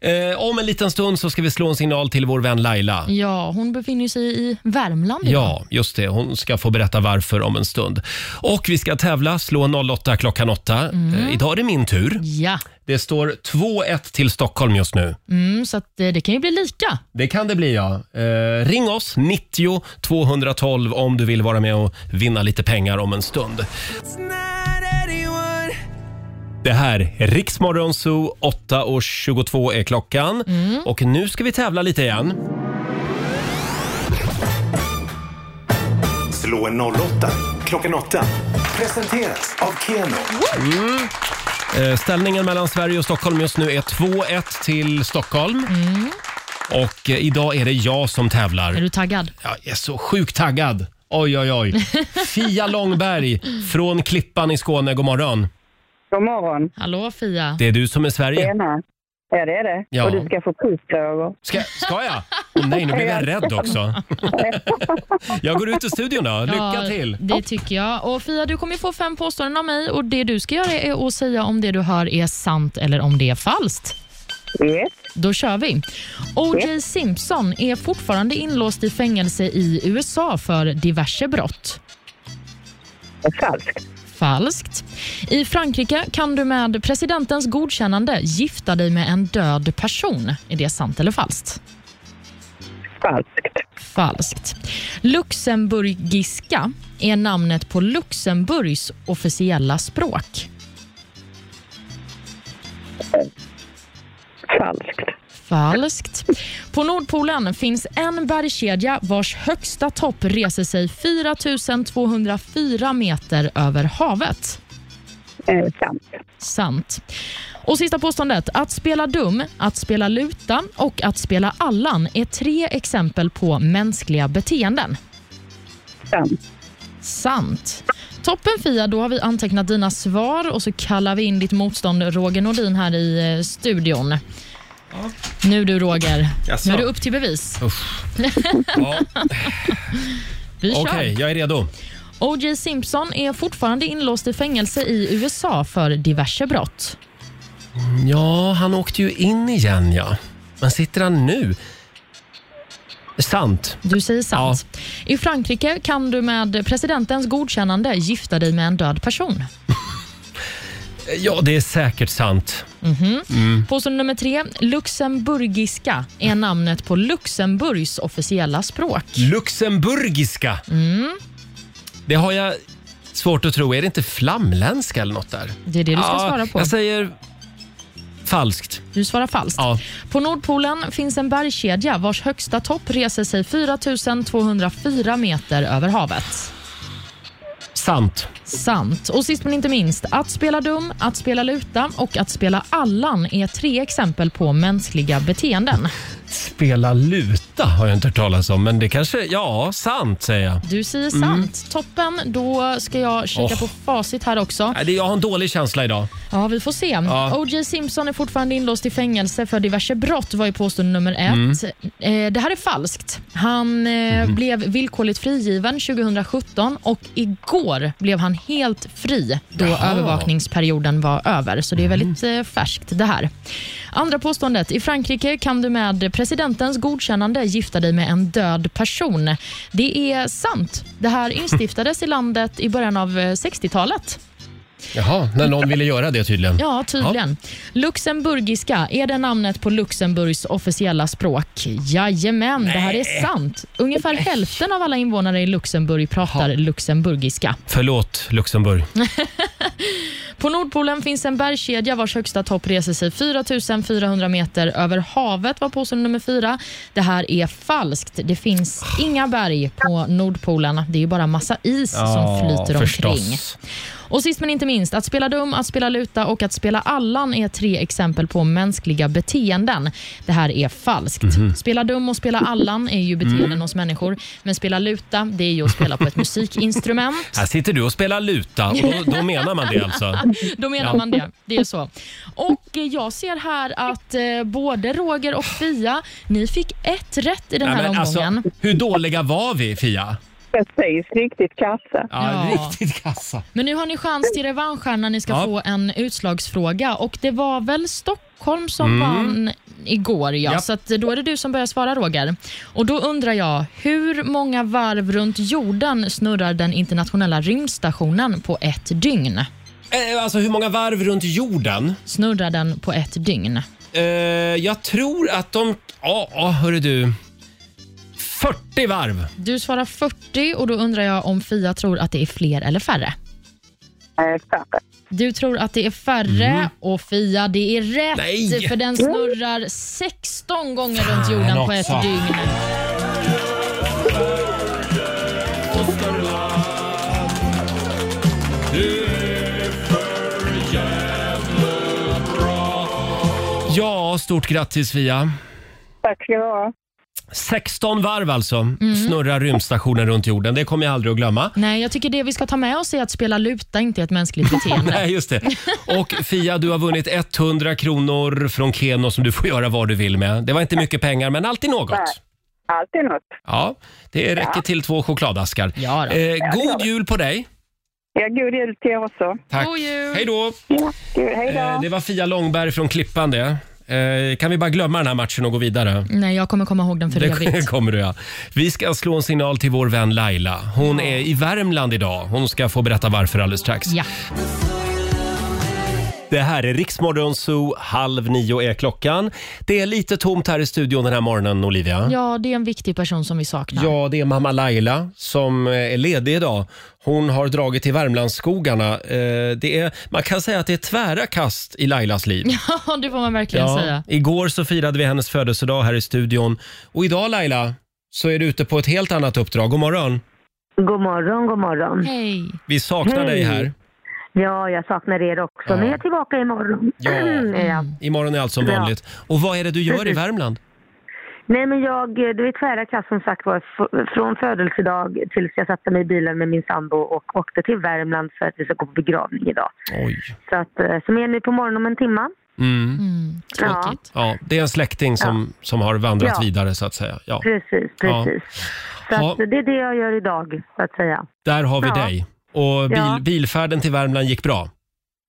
Eh, om en liten stund så ska vi slå en signal till vår vän Laila.
Ja, hon befinner sig i Värmland idag.
Ja, just det. Hon ska få berätta varför om en stund. Och vi ska tävla, slå 08 klockan 8.
Mm.
Eh, idag är det min tur.
Ja.
Det står 2-1 till Stockholm just nu.
Mm, så att, eh, det kan ju bli lika.
Det kan det bli, ja. Eh, ring oss, 90 212 om du vill vara med och vinna lite pengar om en stund. Det här är Riksmorgon Zoo, 8.22 är klockan. Och nu ska vi tävla lite igen.
Slå en 08 klockan 8. Presenteras av Keno.
Mm. Eh, Ställningen mellan Sverige och Stockholm just nu är 2-1 till Stockholm. Och eh, idag är det jag som tävlar.
Är du taggad?
Jag är så sjukt taggad. Oj, oj, oj. Fia Långberg från Klippan i Skåne. God morgon.
God morgon.
Hallå Fia.
Det är du som är Sverige.
Tjena. Ja, det är det.
Ja.
Och du ska få prisfrågor.
Ska, ska jag? Åh nej, nu blev jag rädd också. Jag går ut ur studion då. Lycka
Ja,
till.
Det tycker jag. Och Fia, du kommer få fem påståenden av mig och det du ska göra är att säga om det du hör är sant eller om det är falskt.
Yes.
Då kör vi. O.J. Simpson är fortfarande inlåst i fängelse i USA för diverse brott.
Falskt.
Falskt. I Frankrike kan du med presidentens godkännande gifta dig med en död person. Är det sant eller falskt?
Falskt.
Falskt. Luxemburgiska är namnet på Luxemburgs officiella språk.
Falskt.
Falskt. På Nordpolen finns en bergskedja vars högsta topp reser sig 4 204 meter över havet.
sant.
Sant. Och sista påståendet. Att spela dum, att spela luta och att spela Allan är tre exempel på mänskliga beteenden.
Sant.
Sant. Toppen Fia, då har vi antecknat dina svar och så kallar vi in ditt motstånd Roger Nordin här i eh, studion. Nu du Roger,
Jaså.
nu är det upp till bevis.
Usch.
Vi kör.
Okej, jag är redo.
O.J. Simpson är fortfarande inlåst i fängelse i USA för diverse brott.
Ja, han åkte ju in igen ja. Men sitter han nu? Sant.
Du säger sant. I Frankrike kan du med presidentens godkännande gifta dig med en död person.
Ja, det är säkert sant.
Mhm.
Mm.
Påstående nummer tre. Luxemburgiska är namnet på Luxemburgs officiella språk.
Luxemburgiska.
Mm.
Det har jag svårt att tro. Är det inte flamländska eller något där?
Det är det du ska
Ja,
svara på.
Jag säger falskt.
Du svarar falskt.
Ja.
På Nordpolen finns en bergskedja vars högsta topp reser sig 4 204 meter över havet.
Sant.
Sant. Och sist men inte minst, att spela dum, att spela luta och att spela Allan är tre exempel på mänskliga beteenden.
Spela luta har jag inte hört talas om, men det kanske... Ja, sant säger jag.
Du säger sant.
Mm.
Toppen. Då ska jag kika
Åh.
på facit här också.
Nej, det- Jag har en dålig känsla idag.
Ja, vi får se.
Ja.
O.J. Simpson är fortfarande inlåst i fängelse för diverse brott, var ju påstående nummer ett. Eh, det här är falskt. Han eh, blev villkorligt frigiven 2017 och igår blev han helt fri då
Jaha.
övervakningsperioden var över. Så det är väldigt eh, färskt det här. Andra påståendet. I Frankrike kan du med presidentens godkännande gifta dig med en död person. Det är sant. Det här instiftades i landet i början av eh, 60-talet.
Jaha, när någon ville göra det tydligen.
Ja, tydligen. Luxemburgiska, är det namnet på Luxemburgs officiella språk? Jajamän, det här är sant. Ungefär hälften av alla invånare i Luxemburg pratar luxemburgiska.
Förlåt, Luxemburg.
På Nordpolen finns en bergskedja vars högsta topp reser sig 4 400 meter över havet, var påstående nummer fyra. Det här är falskt. Det finns inga berg på Nordpolen. Det är ju bara massa is som
Ja,
flyter
förstås.
omkring. Och sist men inte minst, att spela dum, att spela luta och att spela Allan är tre exempel på mänskliga beteenden. Det här är falskt.
Mhm.
Spela dum och spela Allan är ju beteenden
Mm.
hos människor, men spela luta, det är ju att spela på ett musikinstrument.
Här sitter du och spelar luta och då, då menar man det alltså.
Då menar
Ja.
man det. Det är så. Och eh, jag ser här att eh, både Roger och Fia, ni fick ett rätt i den
Ja,
här
men
omgången.
Alltså, hur dåliga var vi, Fia?
Precis, riktigt kassa.
Ja,
Ja.
riktigt kassa.
Men nu har ni chans till revansch här när ni ska
Ja.
få en utslagsfråga. Och det var väl Stockholm som
Mm.
vann igår, ja.
Ja.
Så att då är det du som börjar svara, Roger. Och då undrar jag, hur många varv runt jorden snurrar den internationella rymdstationen på ett dygn?
Eh, alltså hur många varv runt jorden?
Snurrar den på ett dygn?
Eh, jag tror att de... Ja, ja, hörru du. 40 varv.
Du svarar 40 och då undrar jag om Fia tror att det är fler eller färre. Du tror att det är färre
Mm.
och Fia, det är rätt
Nej.
för den snurrar 16 gånger runt
Fan
jorden på
också.
ett dygn.
Ja, stort grattis Fia.
Tack ska du ha.
16 varv alltså snurrar rymdstationen runt jorden. Det kommer jag aldrig att glömma.
Nej, jag tycker det vi ska ta med oss är att spela luta inte är ett mänskligt beteende.
Nej, just det. Och Fia, du har vunnit 100 kronor från Keno som du får göra vad du vill med. Det var inte mycket pengar, men alltid något.
Alltid något.
Ja, det räcker till två chokladaskar. Eh, god jul på dig.
Ja, god jul till er också.
Tack.
God jul.
Hej då.
Hej då.
Eh, det var Fia Långberg från Klippan det. Eh, kan vi bara glömma den här matchen och gå vidare?
Nej, jag kommer komma ihåg den för
Det
evigt.
kommer du ja. Vi ska slå en signal till vår vän Laila. Hon är i Värmland idag. Hon ska få berätta varför alldeles strax.
Ja.
Det här är Riksmorgon Zoo, halv nio är klockan. Det är lite tomt här i studion den här morgonen, Olivia.
Ja, det är en viktig person som vi saknar.
Ja, det är mamma Laila som eh, är ledig idag. Hon har dragit till Värmlandsskogarna. Eh, Det är, man kan säga att det är tvära kast i Lailas liv.
Ja, det får man verkligen säga.
Igår så firade vi hennes födelsedag här i studion. Och idag Laila, så är du ute på ett helt annat uppdrag. God morgon!
God morgon, god morgon.
Hej.
Vi saknar
Hej.
dig här.
Ja, jag saknar er också, men jag är tillbaka imorgon.
Ja.
Är jag.
Imorgon är allt som
Bra.
vanligt. Och vad är det du gör i
Precis.
Värmland?
Nej, men jag, det är tvära kast som sagt var, f- från födelsedag tills jag satte mig i bilen med min sambo och åkte till Värmland för att vi ska gå på begravning idag.
Oj.
Så att, eh, som är nu på morgonen om en timme.
Mm.
Ja,
Ja, det är en släkting som, som har vandrat
Ja.
vidare så att säga. Ja.
precis,
Ja.
precis. Så
Ja.
att, det är det jag gör idag, så att säga.
Där har vi
Ja.
dig. Och bil,
Ja.
bilfärden till Värmland gick bra.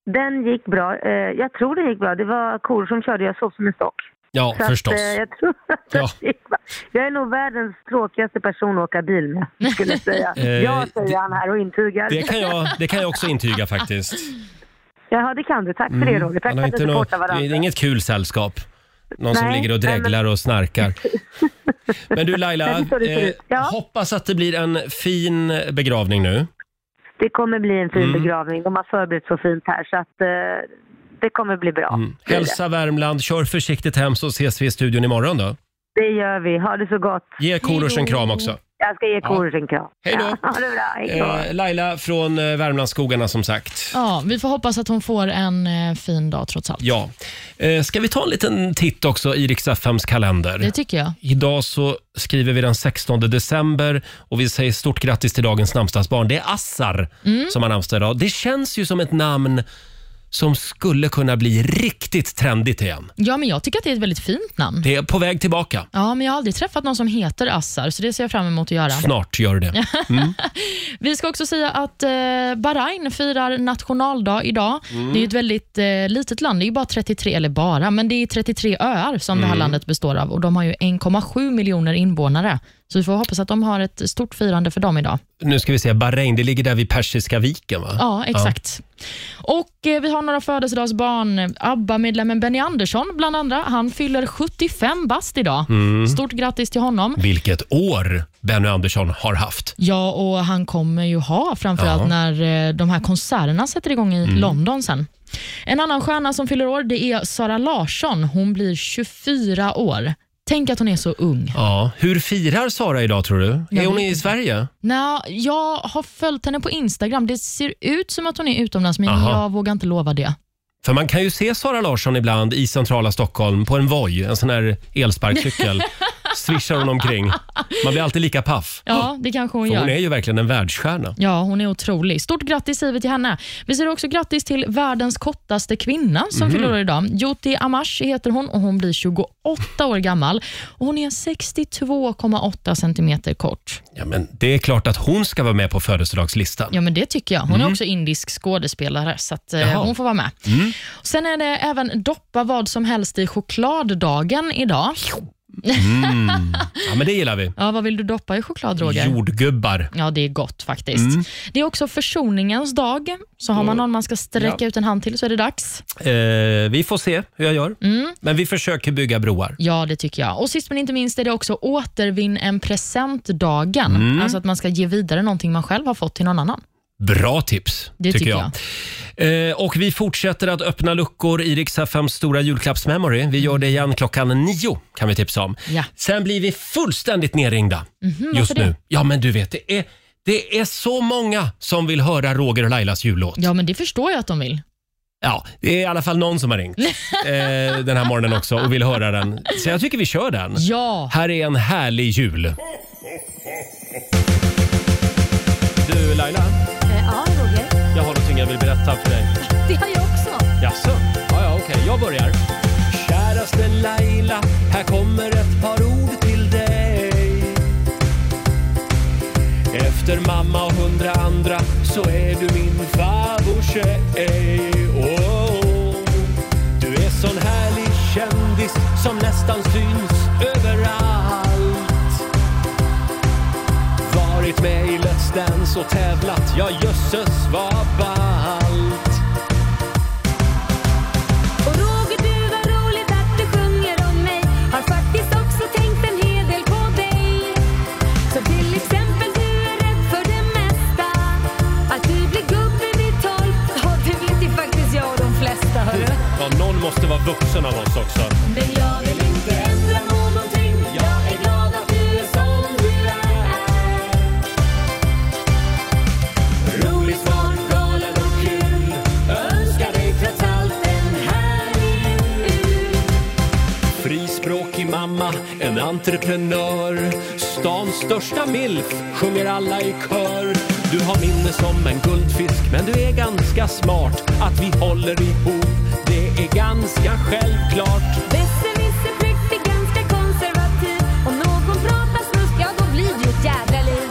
Den gick bra. Eh, Jag tror det gick bra. Det var kor som körde, jag sov som en stock.
Ja,
Så att,
förstås.
eh, jag, tror att
Ja.
det gick bra. jag är nog världens tråkigaste person att åka bil med, skulle jag säga.
Eh,
jag säger
det-
han här och intygar.
Det kan, jag, det kan jag också intyga faktiskt.
Jaha, det kan du. Tack för
Mm.
det Roger. Tack
Man
för
har
att du
inte nå-
supportar
det
varandra.
är inget kul sällskap. Någon som
Nej,
ligger och
nej, men-
dreglar och snarkar. Men du Laila,
Men det är så det ser
eh,
ut. Ja.
hoppas att det blir en fin begravning nu.
Det kommer bli en fin
Mm.
begravning. De har förberett så fint här så att eh, det kommer bli bra. Det är det.
Mm. Hälsa Värmland, kör försiktigt hem så ses vi i studion imorgon då.
Det gör vi. Ha det så gott.
Ge Korosh en kram också.
Jag ska ge
Ja.
Korosh en kram.
Hej då.
Ja, ha det bra. Hej då.
Eh, Laila från eh, Värmlandsskogarna som sagt.
Ja, vi får hoppas att hon får en eh, fin dag trots allt.
Ja. Eh, Ska vi ta en liten titt också i riks FMs kalender?
Det tycker jag.
Idag så skriver vi den 16 december och vi säger stort grattis till dagens namnsdagsbarn. Det är Assar
Mm.
som har namnsdag idag. Det känns ju som ett namn som skulle kunna bli riktigt trendigt igen.
Ja, men jag tycker att det är ett väldigt fint namn.
Det är på väg tillbaka.
Ja, men jag har aldrig träffat någon som heter Assar, så det ser jag fram emot att göra.
Snart gör det. Mm.
Vi ska också säga att eh, Bahrain firar nationaldag idag.
Mm.
Det är ju ett väldigt eh, litet land. Det är ju bara 33, eller bara, men det är 33 öar som det här
Mm.
landet består av och de har ju 1,7 miljoner invånare. Så vi får hoppas att de har ett stort firande för dem idag.
Nu ska vi se, Bahrain, det ligger där vid Persiska viken va?
Ja, exakt. Och eh, Vi har några födelsedagsbarn. ABBA-medlemmen Benny Andersson, bland andra, han fyller 75 bast idag.
Mm.
Stort grattis till honom.
Vilket år Benny Andersson har haft.
Ja, och han kommer ju ha framförallt
Ja.
allt när eh, de här konserterna sätter igång i
Mm.
London sen. En annan stjärna som fyller år det är Sara Larsson. Hon blir 24 år. Tänk att hon är så ung.
Ja. Hur firar Sara idag tror du?
Jag
är hon
vet
i
inte.
Sverige?
Nå, jag har följt henne på Instagram. Det ser ut som att hon är utomlands, men
Aha.
jag vågar inte lova det.
För man kan ju se Sara Larsson ibland i centrala Stockholm på en Voi, en sån här elsparkcykel. Swishar hon omkring. Man blir alltid lika paff.
Ja, det kanske hon
För
gör.
hon är ju verkligen en världsstjärna.
Ja, hon är otrolig. Stort grattis säger vi till henne. Vi säger också grattis till världens kortaste kvinna som
Mhm.
fyller år idag. Jyoti Amash heter hon och hon blir 28 år gammal. Och hon är 62,8 centimeter kort.
Ja, men det är klart att hon ska vara med på födelsedagslistan.
Ja, men det tycker jag. Hon är
Mm.
också indisk skådespelare, så att, eh,
Jaha.
hon får vara med.
Mm.
Sen är det även doppa vad som helst i chokladdagen idag.
Mm. Ja, men det gillar vi.
Ja, vad vill du doppa i choklad, Roger?
Jordgubbar.
Ja, det är gott faktiskt.
Mm.
Det är också försoningens dag. Så har man någon man ska sträcka
Ja.
ut en hand till så är det dags.
Eh, vi får se hur jag gör.
Mm.
Men vi försöker bygga broar.
Ja, det tycker jag. Och Sist men inte minst är det också återvinn en presentdagen.
Mm.
Alltså att man ska ge vidare någonting man själv har fått till någon annan.
Bra tips,
Det
tycker
tycker
jag. Eh, och vi fortsätter att öppna luckor i Rix FMs stora julklappsmemory. Vi gör det igen klockan nio, kan vi tipsa om.
Ja.
Sen blir vi fullständigt nerringda
Mhm,
just
varför det?
nu. Ja, men du vet, det är, det är så många som vill höra Roger och Lailas jullåt.
Ja, men det förstår jag att de vill.
Ja, det är i alla fall någon som har ringt eh, den här morgonen också och vill höra den. Så jag tycker vi kör den.
Ja.
Här är en härlig jul. Du Laila,
Ja, Roger.
jag har någonting jag vill berätta för dig.
Det har jag också.
Jaså? Ja, ja, okej. Jag börjar. Käraste Laila, här kommer ett par ord till dig. Efter mamma och hundra andra så är du min favorittjej. Oh, du är sån härlig kändis som nästan syns överallt. Varit med i Let's Dance och tävlat, ja jösses vad ballt. måste vara vuxen av oss också.
Men jag vill inte ändra någonting. Jag är glad att du är som du är. Rolig, smart, galen och kul. Önskar dig trots allt en härlig jul.
Frispråkig mamma, en entreprenör. Stans största milf, sjunger alla i kör. Du har minne som en guldfisk, men du är ganska smart. Att vi håller ihop, det är ganska självklart.
Besserwisser, präktig, ganska konservativ. Om någon pratar snusk, ja då blir det ett jädra liv.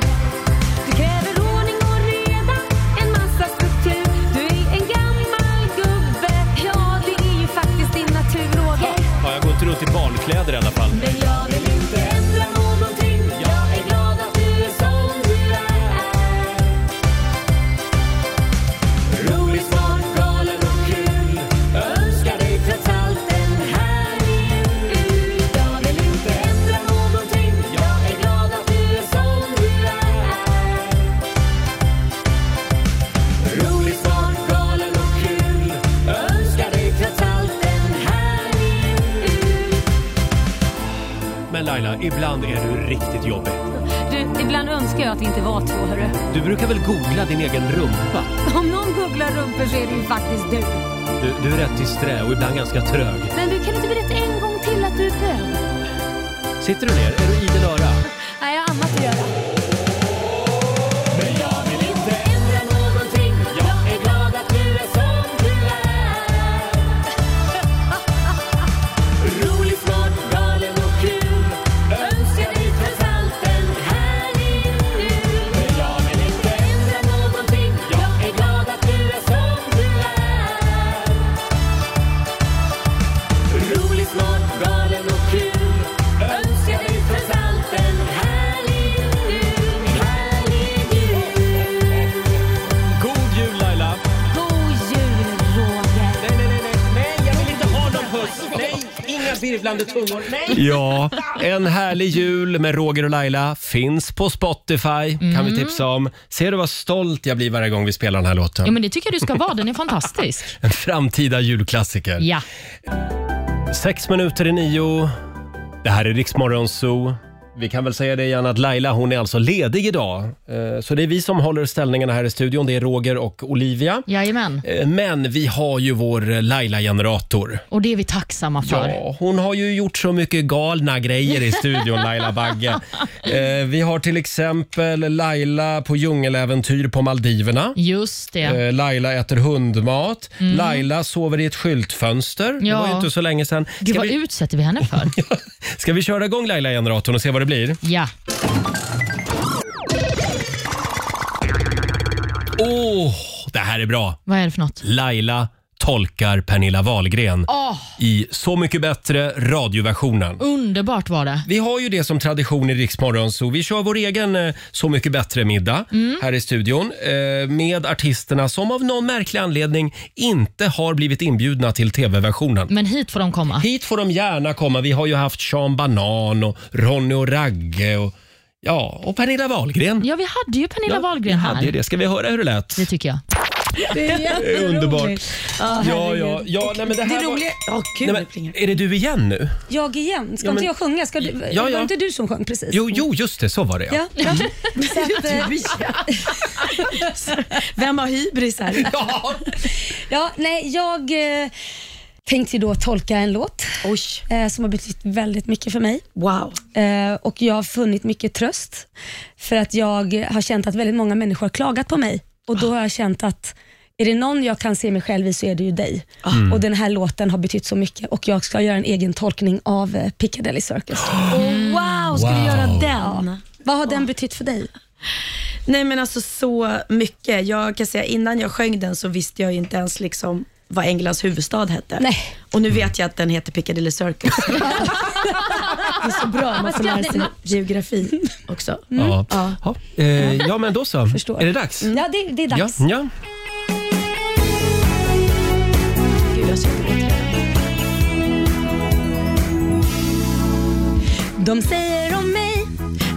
Du kräver ordning och reda, en massa struktur. Du är en gammal gubbe, ja det är ju faktiskt din natur Roger.
Ja, jag går inte runt i barnkläder i alla fall.
Men jag vill inte ändra någonting. Jag är glad att du är som du är. Rolig, smart, galen och kul. Önskar dig trots allt en härlig jul. Jag vill inte ändra någonting. Jag är glad att du är som du är. Rolig, smart, galen och kul. Önskar dig trots allt en härlig jul.
Men Laila, ibland är du riktigt jobbig.
Du, ibland önskar jag att vi inte var två, hörru.
Du brukar väl googla din egen rumpa?
Om någon googlar rumpor så är det ju faktiskt du.
Du, du är rätt disträ och ibland ganska trög.
Men du, kan inte berätta en gång till att du är bög?
Sitter du ner? Är du idel öra?
Nej, jag har annat att göra.
Men jag vill inte ändra någonting. Jag är glad att du är som du är. Rolig, smart, galen och kul. Önskar dig trots allt en härlig jul. Men jag vill inte ändra någonting. Jag är glad att du är som du är. Rolig, smart, galen och kul. Önskar dig trots allt en härlig jul. Härlig jul.
God jul Laila!
God jul, Roger.
Nej, nej, nej, nej, nej, jag vill inte ha någon puss. Nej, inga virvlande tungor. Nej.
Ja, En härlig jul med Roger och Laila finns på Spotify, kan vi tipsa om. Ser du vad stolt jag blir varje gång vi spelar den här låten?
Ja, men det tycker jag du ska vara. Den är fantastisk.
En framtida julklassiker.
Ja.
Sex minuter i nio. Det här är Riksmorgon Zoo. Vi kan väl säga det igen att Laila hon är alltså ledig idag. Eh, Så det är vi som håller ställningarna här i studion. Det är Roger och Olivia.
Jajamän.
Eh, Men vi har ju vår eh, Laila-generator.
Och det är vi tacksamma för.
Ja, hon har ju gjort så mycket galna grejer i studion, Laila Bagge. Eh, vi har till exempel Laila på djungeläventyr på Maldiverna.
Just det.
Eh, Laila äter hundmat.
Mm.
Laila sover i ett skyltfönster. Det
Ja.
var ju inte så länge sedan.
Gud, vad
vi,
utsätter vi henne för?
ska vi köra igång Laila-generatorn och se vad det blir?
ja.
Åh, det här är bra!
Vad är det för något?
Laila tolkar Pernilla Wahlgren
Åh,
i Så mycket bättre radioversionen.
underbart var det.
Vi har ju det som tradition i Riksmorgon, så vi kör vår egen eh, Så mycket bättre-middag
Mm.
här i studion eh, med artisterna som av någon märklig anledning inte har blivit inbjudna till tv-versionen.
Men hit får de komma.
Hit får de gärna komma. Vi har ju haft Sean Banan och Ronny och Ragge och, ja, och Pernilla Wahlgren.
Ja, vi hade ju Pernilla Wahlgren
Ja, det, är
här.
det. Ska vi höra hur det lät?
Det tycker jag.
Det är jätteroligt. Underbart.
Ja,
Ja,
herregud.
ja, ja, nej, men det här
det
var-
roliga... Ja, gud,
Nej, men, är det du igen nu?
Jag igen? Ska
Ja, men-
inte jag sjunga? Ska du...
ja.
Var inte du som sjöng precis?
Jo, jo, just det. Så var det
Ja, ja. Så att, eh,
Vem har hybris här?
Ja.
ja, nej, jag eh, tänkte ju då tolka en låt eh, som har betytt väldigt mycket för mig.
Wow.
Eh, och jag har funnit mycket tröst för att jag har känt att väldigt många människor har klagat på mig och då har jag känt att är det någon jag kan se mig själv i så är det ju dig.
Mm.
Och Den här låten har betytt så mycket och jag ska göra en egen tolkning av eh, Piccadilly Circus.
Oh, wow, ska
Wow.
du göra den?
Ja. Vad har den betytt för dig?
Nej men alltså så mycket. Jag kan säga innan jag sjöng den så visste jag ju inte ens liksom vad Englands huvudstad hette.
Nej.
Och nu vet jag att den heter Piccadilly Circus. det är så bra, man
Vad
får
ska
lära
det-
sig geografi också.
Ja.
Ja.
Ja. Eh, ja, men då så. Är det dags?
Ja, det, det är Mm, dags.
Ja, ja.
Gud, jag sitter och
De säger om mig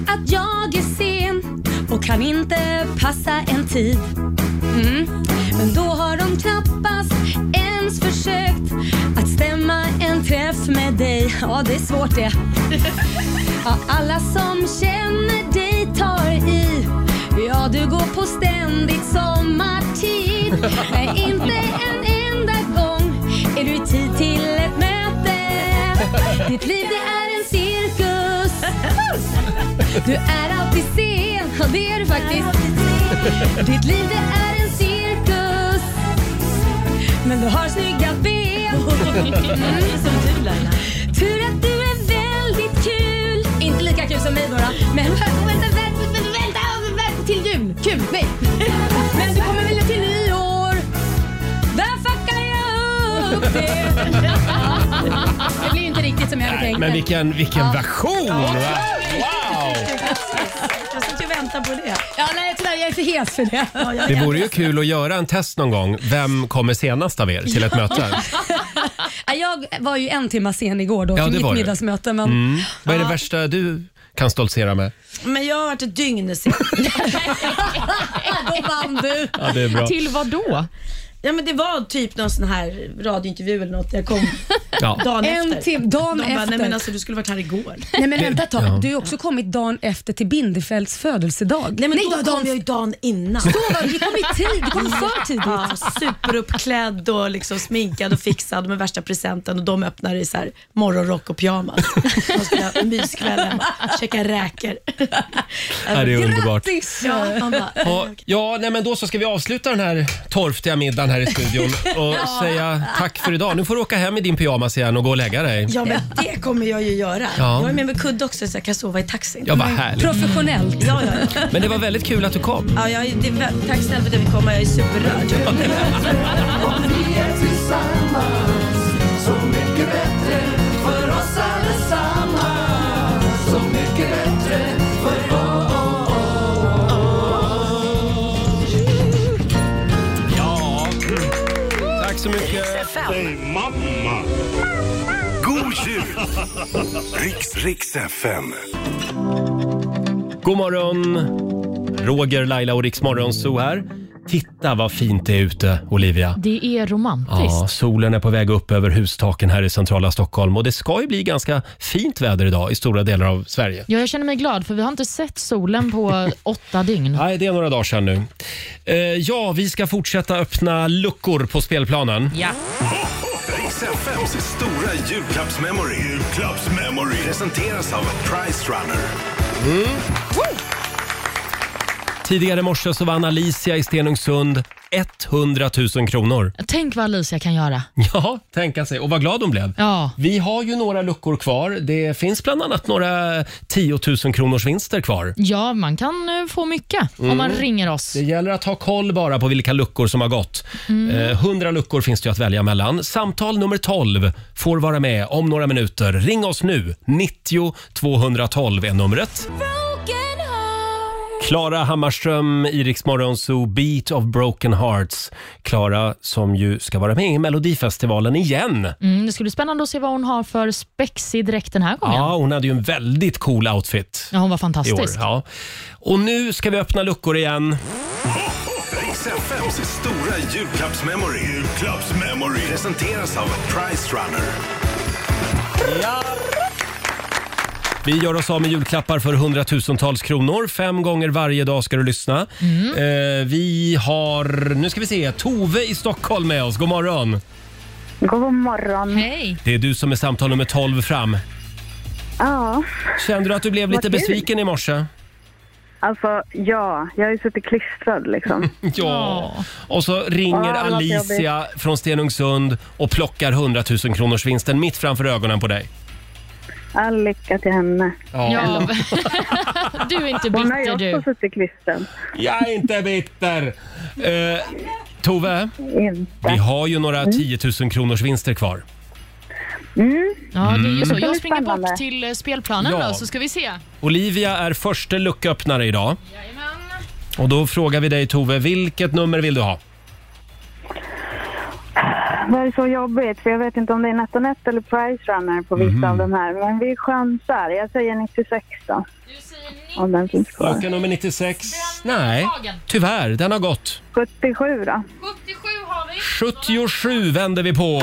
att jag är sen och kan inte passa en tid. Mm. Men då har de knappast ens försökt att stämma
Ja, det är svårt det. Ja, alla som känner dig tar i. Ja, du går på ständigt sommartid. Nej, inte en enda gång är du i tid till ett möte. Ditt liv det är en cirkus. Du är alltid sen, ja det är du faktiskt. Ditt liv det är en cirkus. Men du har snygga ben. Som du Laila. Tur att du är väldigt kul. Inte lika kul som mig då. då. Men vänta, vänta, vänta, vänta, vänta, vänta till jul. Kul, nej. Men du kommer vilja till nyår. Där fuckar jag upp det. Det blir ju inte riktigt som jag hade tänkt
Men
mig.
vilken, vilken version!
Ja.
Va?
Jag satt ju och väntade på det.
Ja, nej tyvärr, jag är för hes för det.
Det vore ju kul att göra en test någon gång. Vem kommer senast av er till ett möte? Mm.
Ja, jag var ju en timma sen igår då
Ja,
till
det
mitt
var du.
middagsmöte. Men
Mm. Vad är det
Ja.
värsta du kan stoltsera med?
Men jag har varit ett dygn sen.
Då vann du.
Ja, det är bra. Till
vad då?
Ja, men det var typ någon sån här radiointervju eller något. Jag kom
Ja.
dagen
En
efter.
tim- dagen
De Bara,
efter.
Nej, men alltså, du skulle varit här igår.
Nej men vänta ett tag,
Ja.
du har ju också kommit dagen efter till Bindefelds födelsedag.
Nej, men då
du har
kom jag ju dagen innan.
Så var det, du kom i tid, du kom för tidigt.
Ja, superuppklädd och liksom sminkad och fixad med värsta presenten och de öppnar i så här morgonrock och pyjamas. De skulle ha myskväll hemma, käka räkor.
Ja, det är underbart.
Ja, man bara,
Ja, ja, nej men då så ska vi avsluta den här torftiga middagen här i studion och
Ja.
säga tack för idag. Nu får du åka hem i din pyjamas igen och gå och lägga dig.
Ja, men det kommer jag ju göra.
Ja.
Jag är med med kudde också så jag kan sova i taxin.
Ja, vad härligt.
Professionellt.
Ja, ja, ja.
Men det var väldigt kul att du kom.
ja jag, är- det, är vä- tack snälla för att jag fick komma. Jag är superrörd.
Om vi är tillsammans
Så mycket bättre för oss allesammans Så mycket bättre för
Ja. Tack så mycket. mamma.
God jul! Riks, Riks FM.
God morgon. Roger, Laila och Riksmorgon så här. Titta vad fint det är ute, Olivia.
Det är romantiskt.
Ja, solen är på väg upp över hustaken här i centrala Stockholm och det ska ju bli ganska fint väder idag i stora delar av Sverige.
Ja, jag känner mig glad för vi har inte sett solen på åtta dygn.
Nej, det är några dagar sedan nu. Eh, ja, vi ska fortsätta öppna luckor på spelplanen.
Ja.
Riks FMs stora julklappsmemory. Julklappsmemory. Presenteras av Price Runner.
Mm. Tidigare i morse så vann Alicia i Stenungsund 100 000 kronor.
Tänk vad Alicia kan göra.
Ja, tänka sig. Och vad glad hon blev.
Ja.
Vi har ju några luckor kvar. Det finns bland annat några 10 000 kronors vinster kvar.
Ja, man kan eh, få mycket om
Mm.
man ringer oss.
Det gäller att ha koll bara på vilka luckor som har gått.
Mm.
Eh, 100 luckor finns det ju att välja mellan. Samtal nummer 12 får vara med om några minuter. Ring oss nu. 90 212 är numret. Klara Hammarström, Iriks morgonzoo, Beat of Broken Hearts. Klara som ju ska vara med i Melodifestivalen igen.
Mm, det skulle bli spännande att se vad hon har för spexig dräkt den här gången.
Ja, hon hade ju en väldigt cool outfit.
Ja, hon var
i år,
fantastisk.
ja. Och nu ska vi öppna luckor igen.
Riks FMs stora julklappsmemory. Julklappsmemory. Presenteras av Price Runner.
Vi gör oss av med julklappar för hundratusentals kronor. Fem gånger varje dag ska du lyssna. Eh, vi har, nu ska vi se, Tove i Stockholm med oss. God morgon!
God morgon. Hej.
Det är du som är samtal nummer 12 fram.
Ja,
Kände du att du blev
Vad
lite
kul.
besviken i morse?
alltså ja, jag har ju suttit klistrad liksom.
Ja. Och så ringer
Ja, det var
Alicia
jobbigt.
från Stenungsund och plockar 100 000 kronors vinsten mitt framför ögonen på dig.
All lycka till henne.
Ja. Ja.
Du är inte
Hon har ju
bitter,
också
du.
suttit klistrad.
Jag är inte bitter! Eh, Tove, vi har ju
Mm.
några 10 000 kronors vinster kvar.
Ja, det är ju så.
Mm.
Jag springer bort till eh, spelplanen
Ja.
då, så ska vi se.
Olivia är första lucköppnare idag. Och då frågar vi dig Tove, vilket nummer vill du ha?
Det här är så jobbigt för jag vet inte om det är NetOnNet eller Price Runner på vissa av de här. Men vi chansar. Jag säger 96 då. Om den finns kvar.
Lucka nummer 96. Nej, tyvärr, den har gått.
77 då.
77 vänder vi på.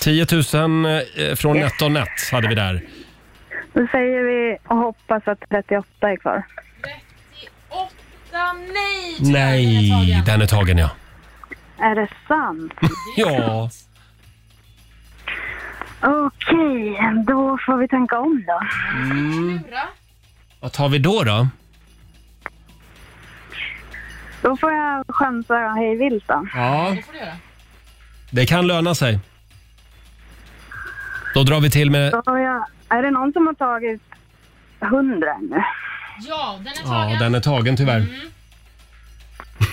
10 000 spänn
10 000 eh, från NetOnNet hade vi där.
Då säger vi och hoppas att 38 är kvar.
nej!
Nej, den är tagen ja.
Är det sant?
Ja,
Okej, då får vi tänka om då.
Mm. vad tar vi då då?
Då får jag chansa hej vilt då.
Ja. Det kan löna sig. Då drar vi till med...
Då har jag, är det någon som har tagit 100 ännu?
Ja, den är
Ja, den är tagen Mm. tyvärr.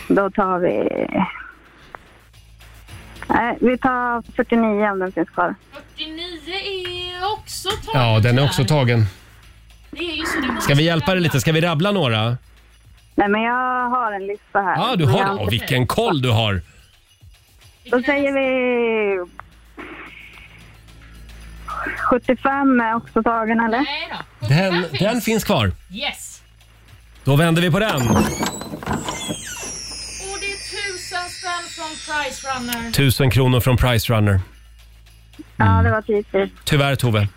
Då tar vi... Nej, vi tar 49 om den finns kvar.
49 är också tagen.
Ja, den är också
tyvärr.
tagen.
Det är ju så det måste
Ska vi hjälpa dig lite? Ska vi rabbla några?
Nej, men jag har en lista här.
Ja, du
Men
har...
jag-
Åh, vilken koll du har!
Då säger vi... 75 är också tagen, eller?
Nej då.
Den, den finns kvar.
Yes!
Då vänder vi på den.
Och det är tusen spänn från Price Runner.
1000 kronor från Price Runner.
Ja, det var typiskt.
Tyvärr Tove.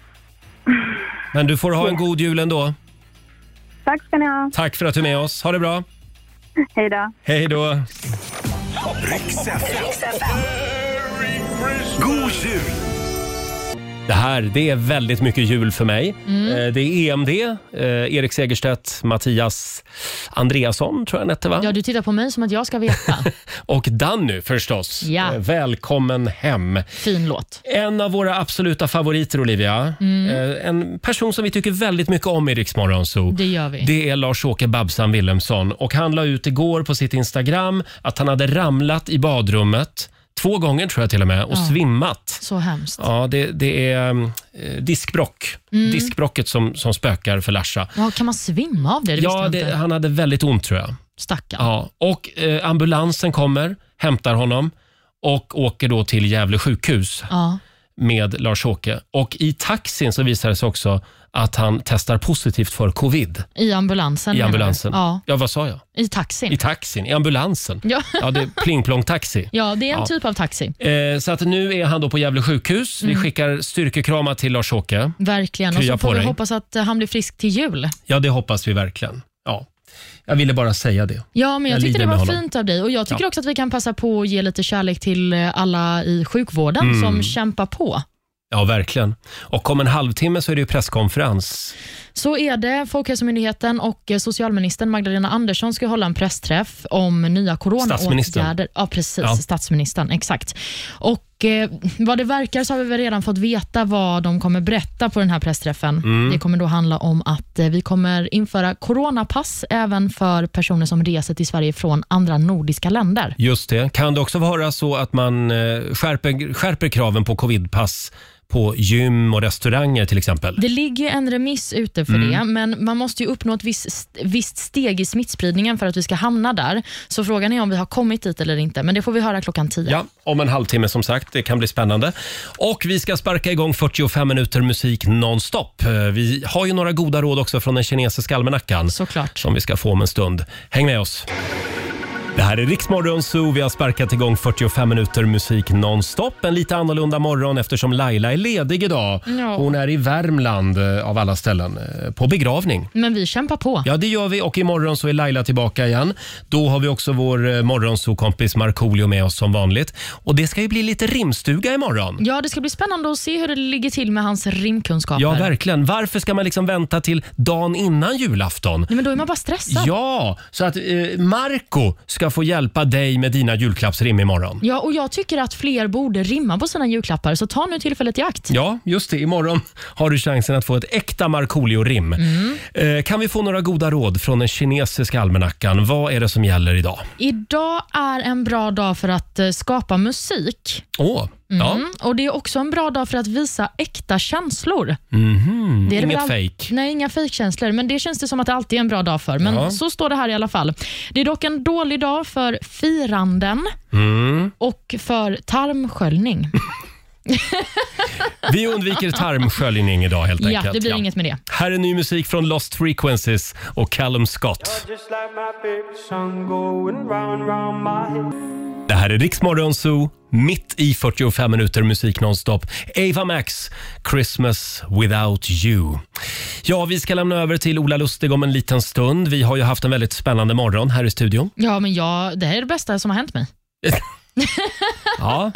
Men du får ha en god jul ändå.
Tack ska ni ha.
Tack för att du är med oss. Ha det bra.
Hej då.
Hej då.
God jul!
Det här det är väldigt mycket jul för mig.
Mm.
Eh, Det är EMD, eh, Erik Segerstedt, Mattias Andreasson tror jag han hette va?
Ja, du tittar på mig som att jag ska veta.
Och Danny förstås.
Ja.
Eh, Välkommen hem.
Fin låt.
En av våra absoluta favoriter Olivia.
Mm.
Eh, En person som vi tycker väldigt mycket om i Rix Morgon Zoo.
Det gör vi.
Det är Lars-Åke Babsan Willemsson och han la ut igår på sitt Instagram att han hade ramlat i badrummet två gånger tror jag till och med och
Ja.
svimmat.
Så hemskt.
Ja, det, det är eh, diskbrock.
Mm.
Diskbrocket som, som spökar för Larsa.
Ja, kan man svimma av det? Det
ja,
visste jag
det,
inte.
han hade väldigt ont tror jag.
Stackarn.
Ja, och eh, ambulansen kommer, hämtar honom och åker då till Gävle sjukhus
Ja.
med Lars-Åke. Och i taxin så visar det sig också att han testar positivt för covid
I ambulansen?
i
menar du?
ambulansen.
Ja.
ja, vad sa jag?
I taxin?
I taxin, i ambulansen.
Ja.
Ja, det är plingplong-taxi.
ja, det är en
Ja.
typ av taxi.
Eh, så att nu är han då på Gävle sjukhus. Vi
Mm.
skickar styrkekramar till Lars-Åke.
Verkligen. Och
Krya
så
på
får vi
dig.
hoppas att eh, han blir frisk till jul.
Ja, det hoppas vi verkligen. Ja. Jag ville bara säga det.
Ja, men jag,
Jag
tyckte
lider
det
med
var
honom.
fint av dig. Och Jag tycker
Ja.
också att vi kan passa på att ge lite kärlek till eh, alla i sjukvården
Mm.
som kämpar på.
Ja, verkligen. Och om en halvtimme så är det ju presskonferens.
Så är det. Folkhälsomyndigheten och eh, socialministern Magdalena Andersson ska hålla en pressträff om nya
Statsministern.
coronaåtgärder. Ja, precis.
Ja.
Statsministern. Exakt. Och eh, Vad det verkar så har vi väl redan fått veta vad de kommer berätta på den här pressträffen.
Mm.
Det kommer då handla om att eh, vi kommer införa coronapass även för personer som reser till Sverige från andra nordiska länder.
Just det. Kan det också vara så att man eh, skärper, skärper kraven på covidpass på gym och restauranger till exempel?
Det ligger ju en remiss ute för
Mm.
det, men man måste ju uppnå ett visst, visst steg i smittspridningen för att vi ska hamna där. Så frågan är om vi har kommit dit eller inte, men det får vi höra klockan tio.
Ja, om en halvtimme som sagt. Det kan bli spännande. Och vi ska sparka igång 45 minuter musik nonstop. Eh, Vi har ju några goda råd också från den kinesiska almanackan.
Såklart.
Som vi ska få om en stund. Häng med oss. Det här är Riksmorgon Zoo. Vi har sparkat igång 45 minuter musik nonstop. En lite annorlunda morgon eftersom Laila är ledig idag.
Ja.
Hon är i Värmland eh, av alla ställen eh, på begravning.
Men vi kämpar på.
Ja, det gör vi. Och imorgon så är Laila tillbaka igen. Då har vi också vår eh, morgonsokompis Markoolio med oss som vanligt. Och det ska ju bli lite rimstuga imorgon.
Ja, det ska bli spännande att se hur det ligger till med hans rimkunskaper.
Ja, verkligen. Varför ska man liksom vänta till dagen innan julafton?
Nej, men då är man bara stressad.
Ja, så att eh, Marco ska få hjälpa dig med dina julklappsrim imorgon.
Ja, och jag tycker att fler borde rimma på sina julklappar, så ta nu tillfället i akt.
Ja, just det. Imorgon har du chansen att få ett äkta Markoolio-rim. Eh, kan vi få några goda råd från den kinesiska almanackan? Vad är det som gäller idag?
Idag är en bra dag för att eh, skapa musik.
Åh, ja.
Mm. Och Det är också en bra dag för att visa äkta känslor.
Mhm,
Det är det
Inget
väl all-
fejk.
Nej, inga fejkkänslor. Men det känns det som att det alltid är en bra dag för. Men
Ja.
så står det här i alla fall. Det är dock en dålig dag för firanden
Mm.
och för tarmsköljning.
Vi undviker tarmsköljning idag helt
ja,
enkelt.
det blir inget med det.
Här är ny musik från Lost Frequencies och Callum Scott. Det här är Riksmorgon Zoo, mitt i 45 minuter musik nonstop. Ava Max, Christmas without you. Ja, vi ska lämna över till Ola Lustig om en liten stund. Vi har ju haft en väldigt spännande morgon här i studion.
Ja, men jag, det här är det bästa som har hänt mig.
Ja,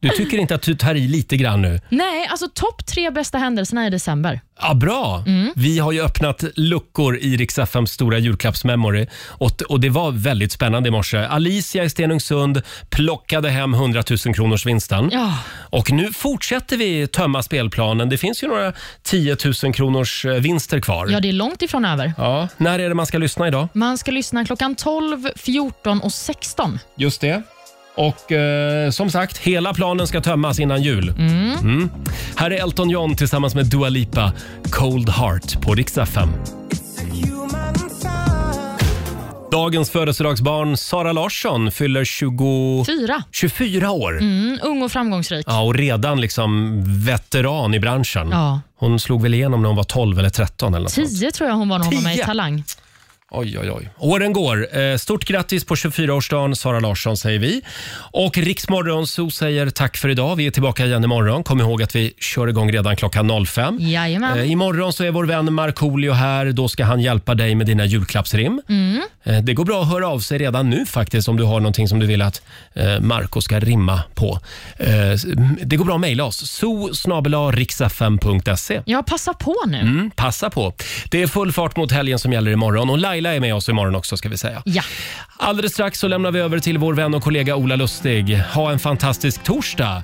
du tycker inte att du tar i lite grann nu?
Nej, alltså topp tre bästa händelserna i december.
Ja, bra!
Mm.
Vi har ju öppnat luckor i Rix FMs stora julklappsmemory och, och det var väldigt spännande i morse. Alicia i Stenungsund plockade hem 100 000 kronors vinsten.
Ja.
Och nu fortsätter vi tömma spelplanen. Det finns ju några 10 000 kronors eh, vinster kvar.
Ja, det är långt ifrån över.
Ja. När är det man ska lyssna idag?
Man ska lyssna klockan 12, 14 och 16.
Just det. Och eh, som sagt, hela planen ska tömmas innan jul.
Mm.
Mm. Här är Elton John tillsammans med Dua Lipa, Cold Heart på Rix FM. Dagens födelsedagsbarn Sara Larsson fyller 20...
Fyra.
24 år.
Mm, ung och framgångsrik.
Ja, och redan liksom veteran i branschen.
Ja.
Hon slog väl igenom när hon var 12 eller 13 eller något sånt.
Tio tror jag hon var när hon var med i
Tio?
Talang.
Oj, oj, oj. Åren går. Eh, Stort grattis på 24-årsdagen, Sara Larsson säger vi. Och Riksmorgon så säger tack för idag. Vi är tillbaka igen imorgon. Kom ihåg att vi kör igång redan klockan 05.
Jajamän.
Eh, Imorgon så är vår vän Markoolio här. Då ska han hjälpa dig med dina julklappsrim.
Mm.
Eh, Det går bra att höra av sig redan nu faktiskt om du har någonting som du vill att eh, Marco ska rimma på. Eh, s- m- Det går bra att mejla oss. so
Ja, passa på nu.
Mm, passa på. Det är full fart mot helgen som gäller imorgon och Laila är med oss imorgon också ska vi säga.
Ja.
Alldeles strax så lämnar vi över till vår vän och kollega Ola Lustig. Ha en fantastisk torsdag.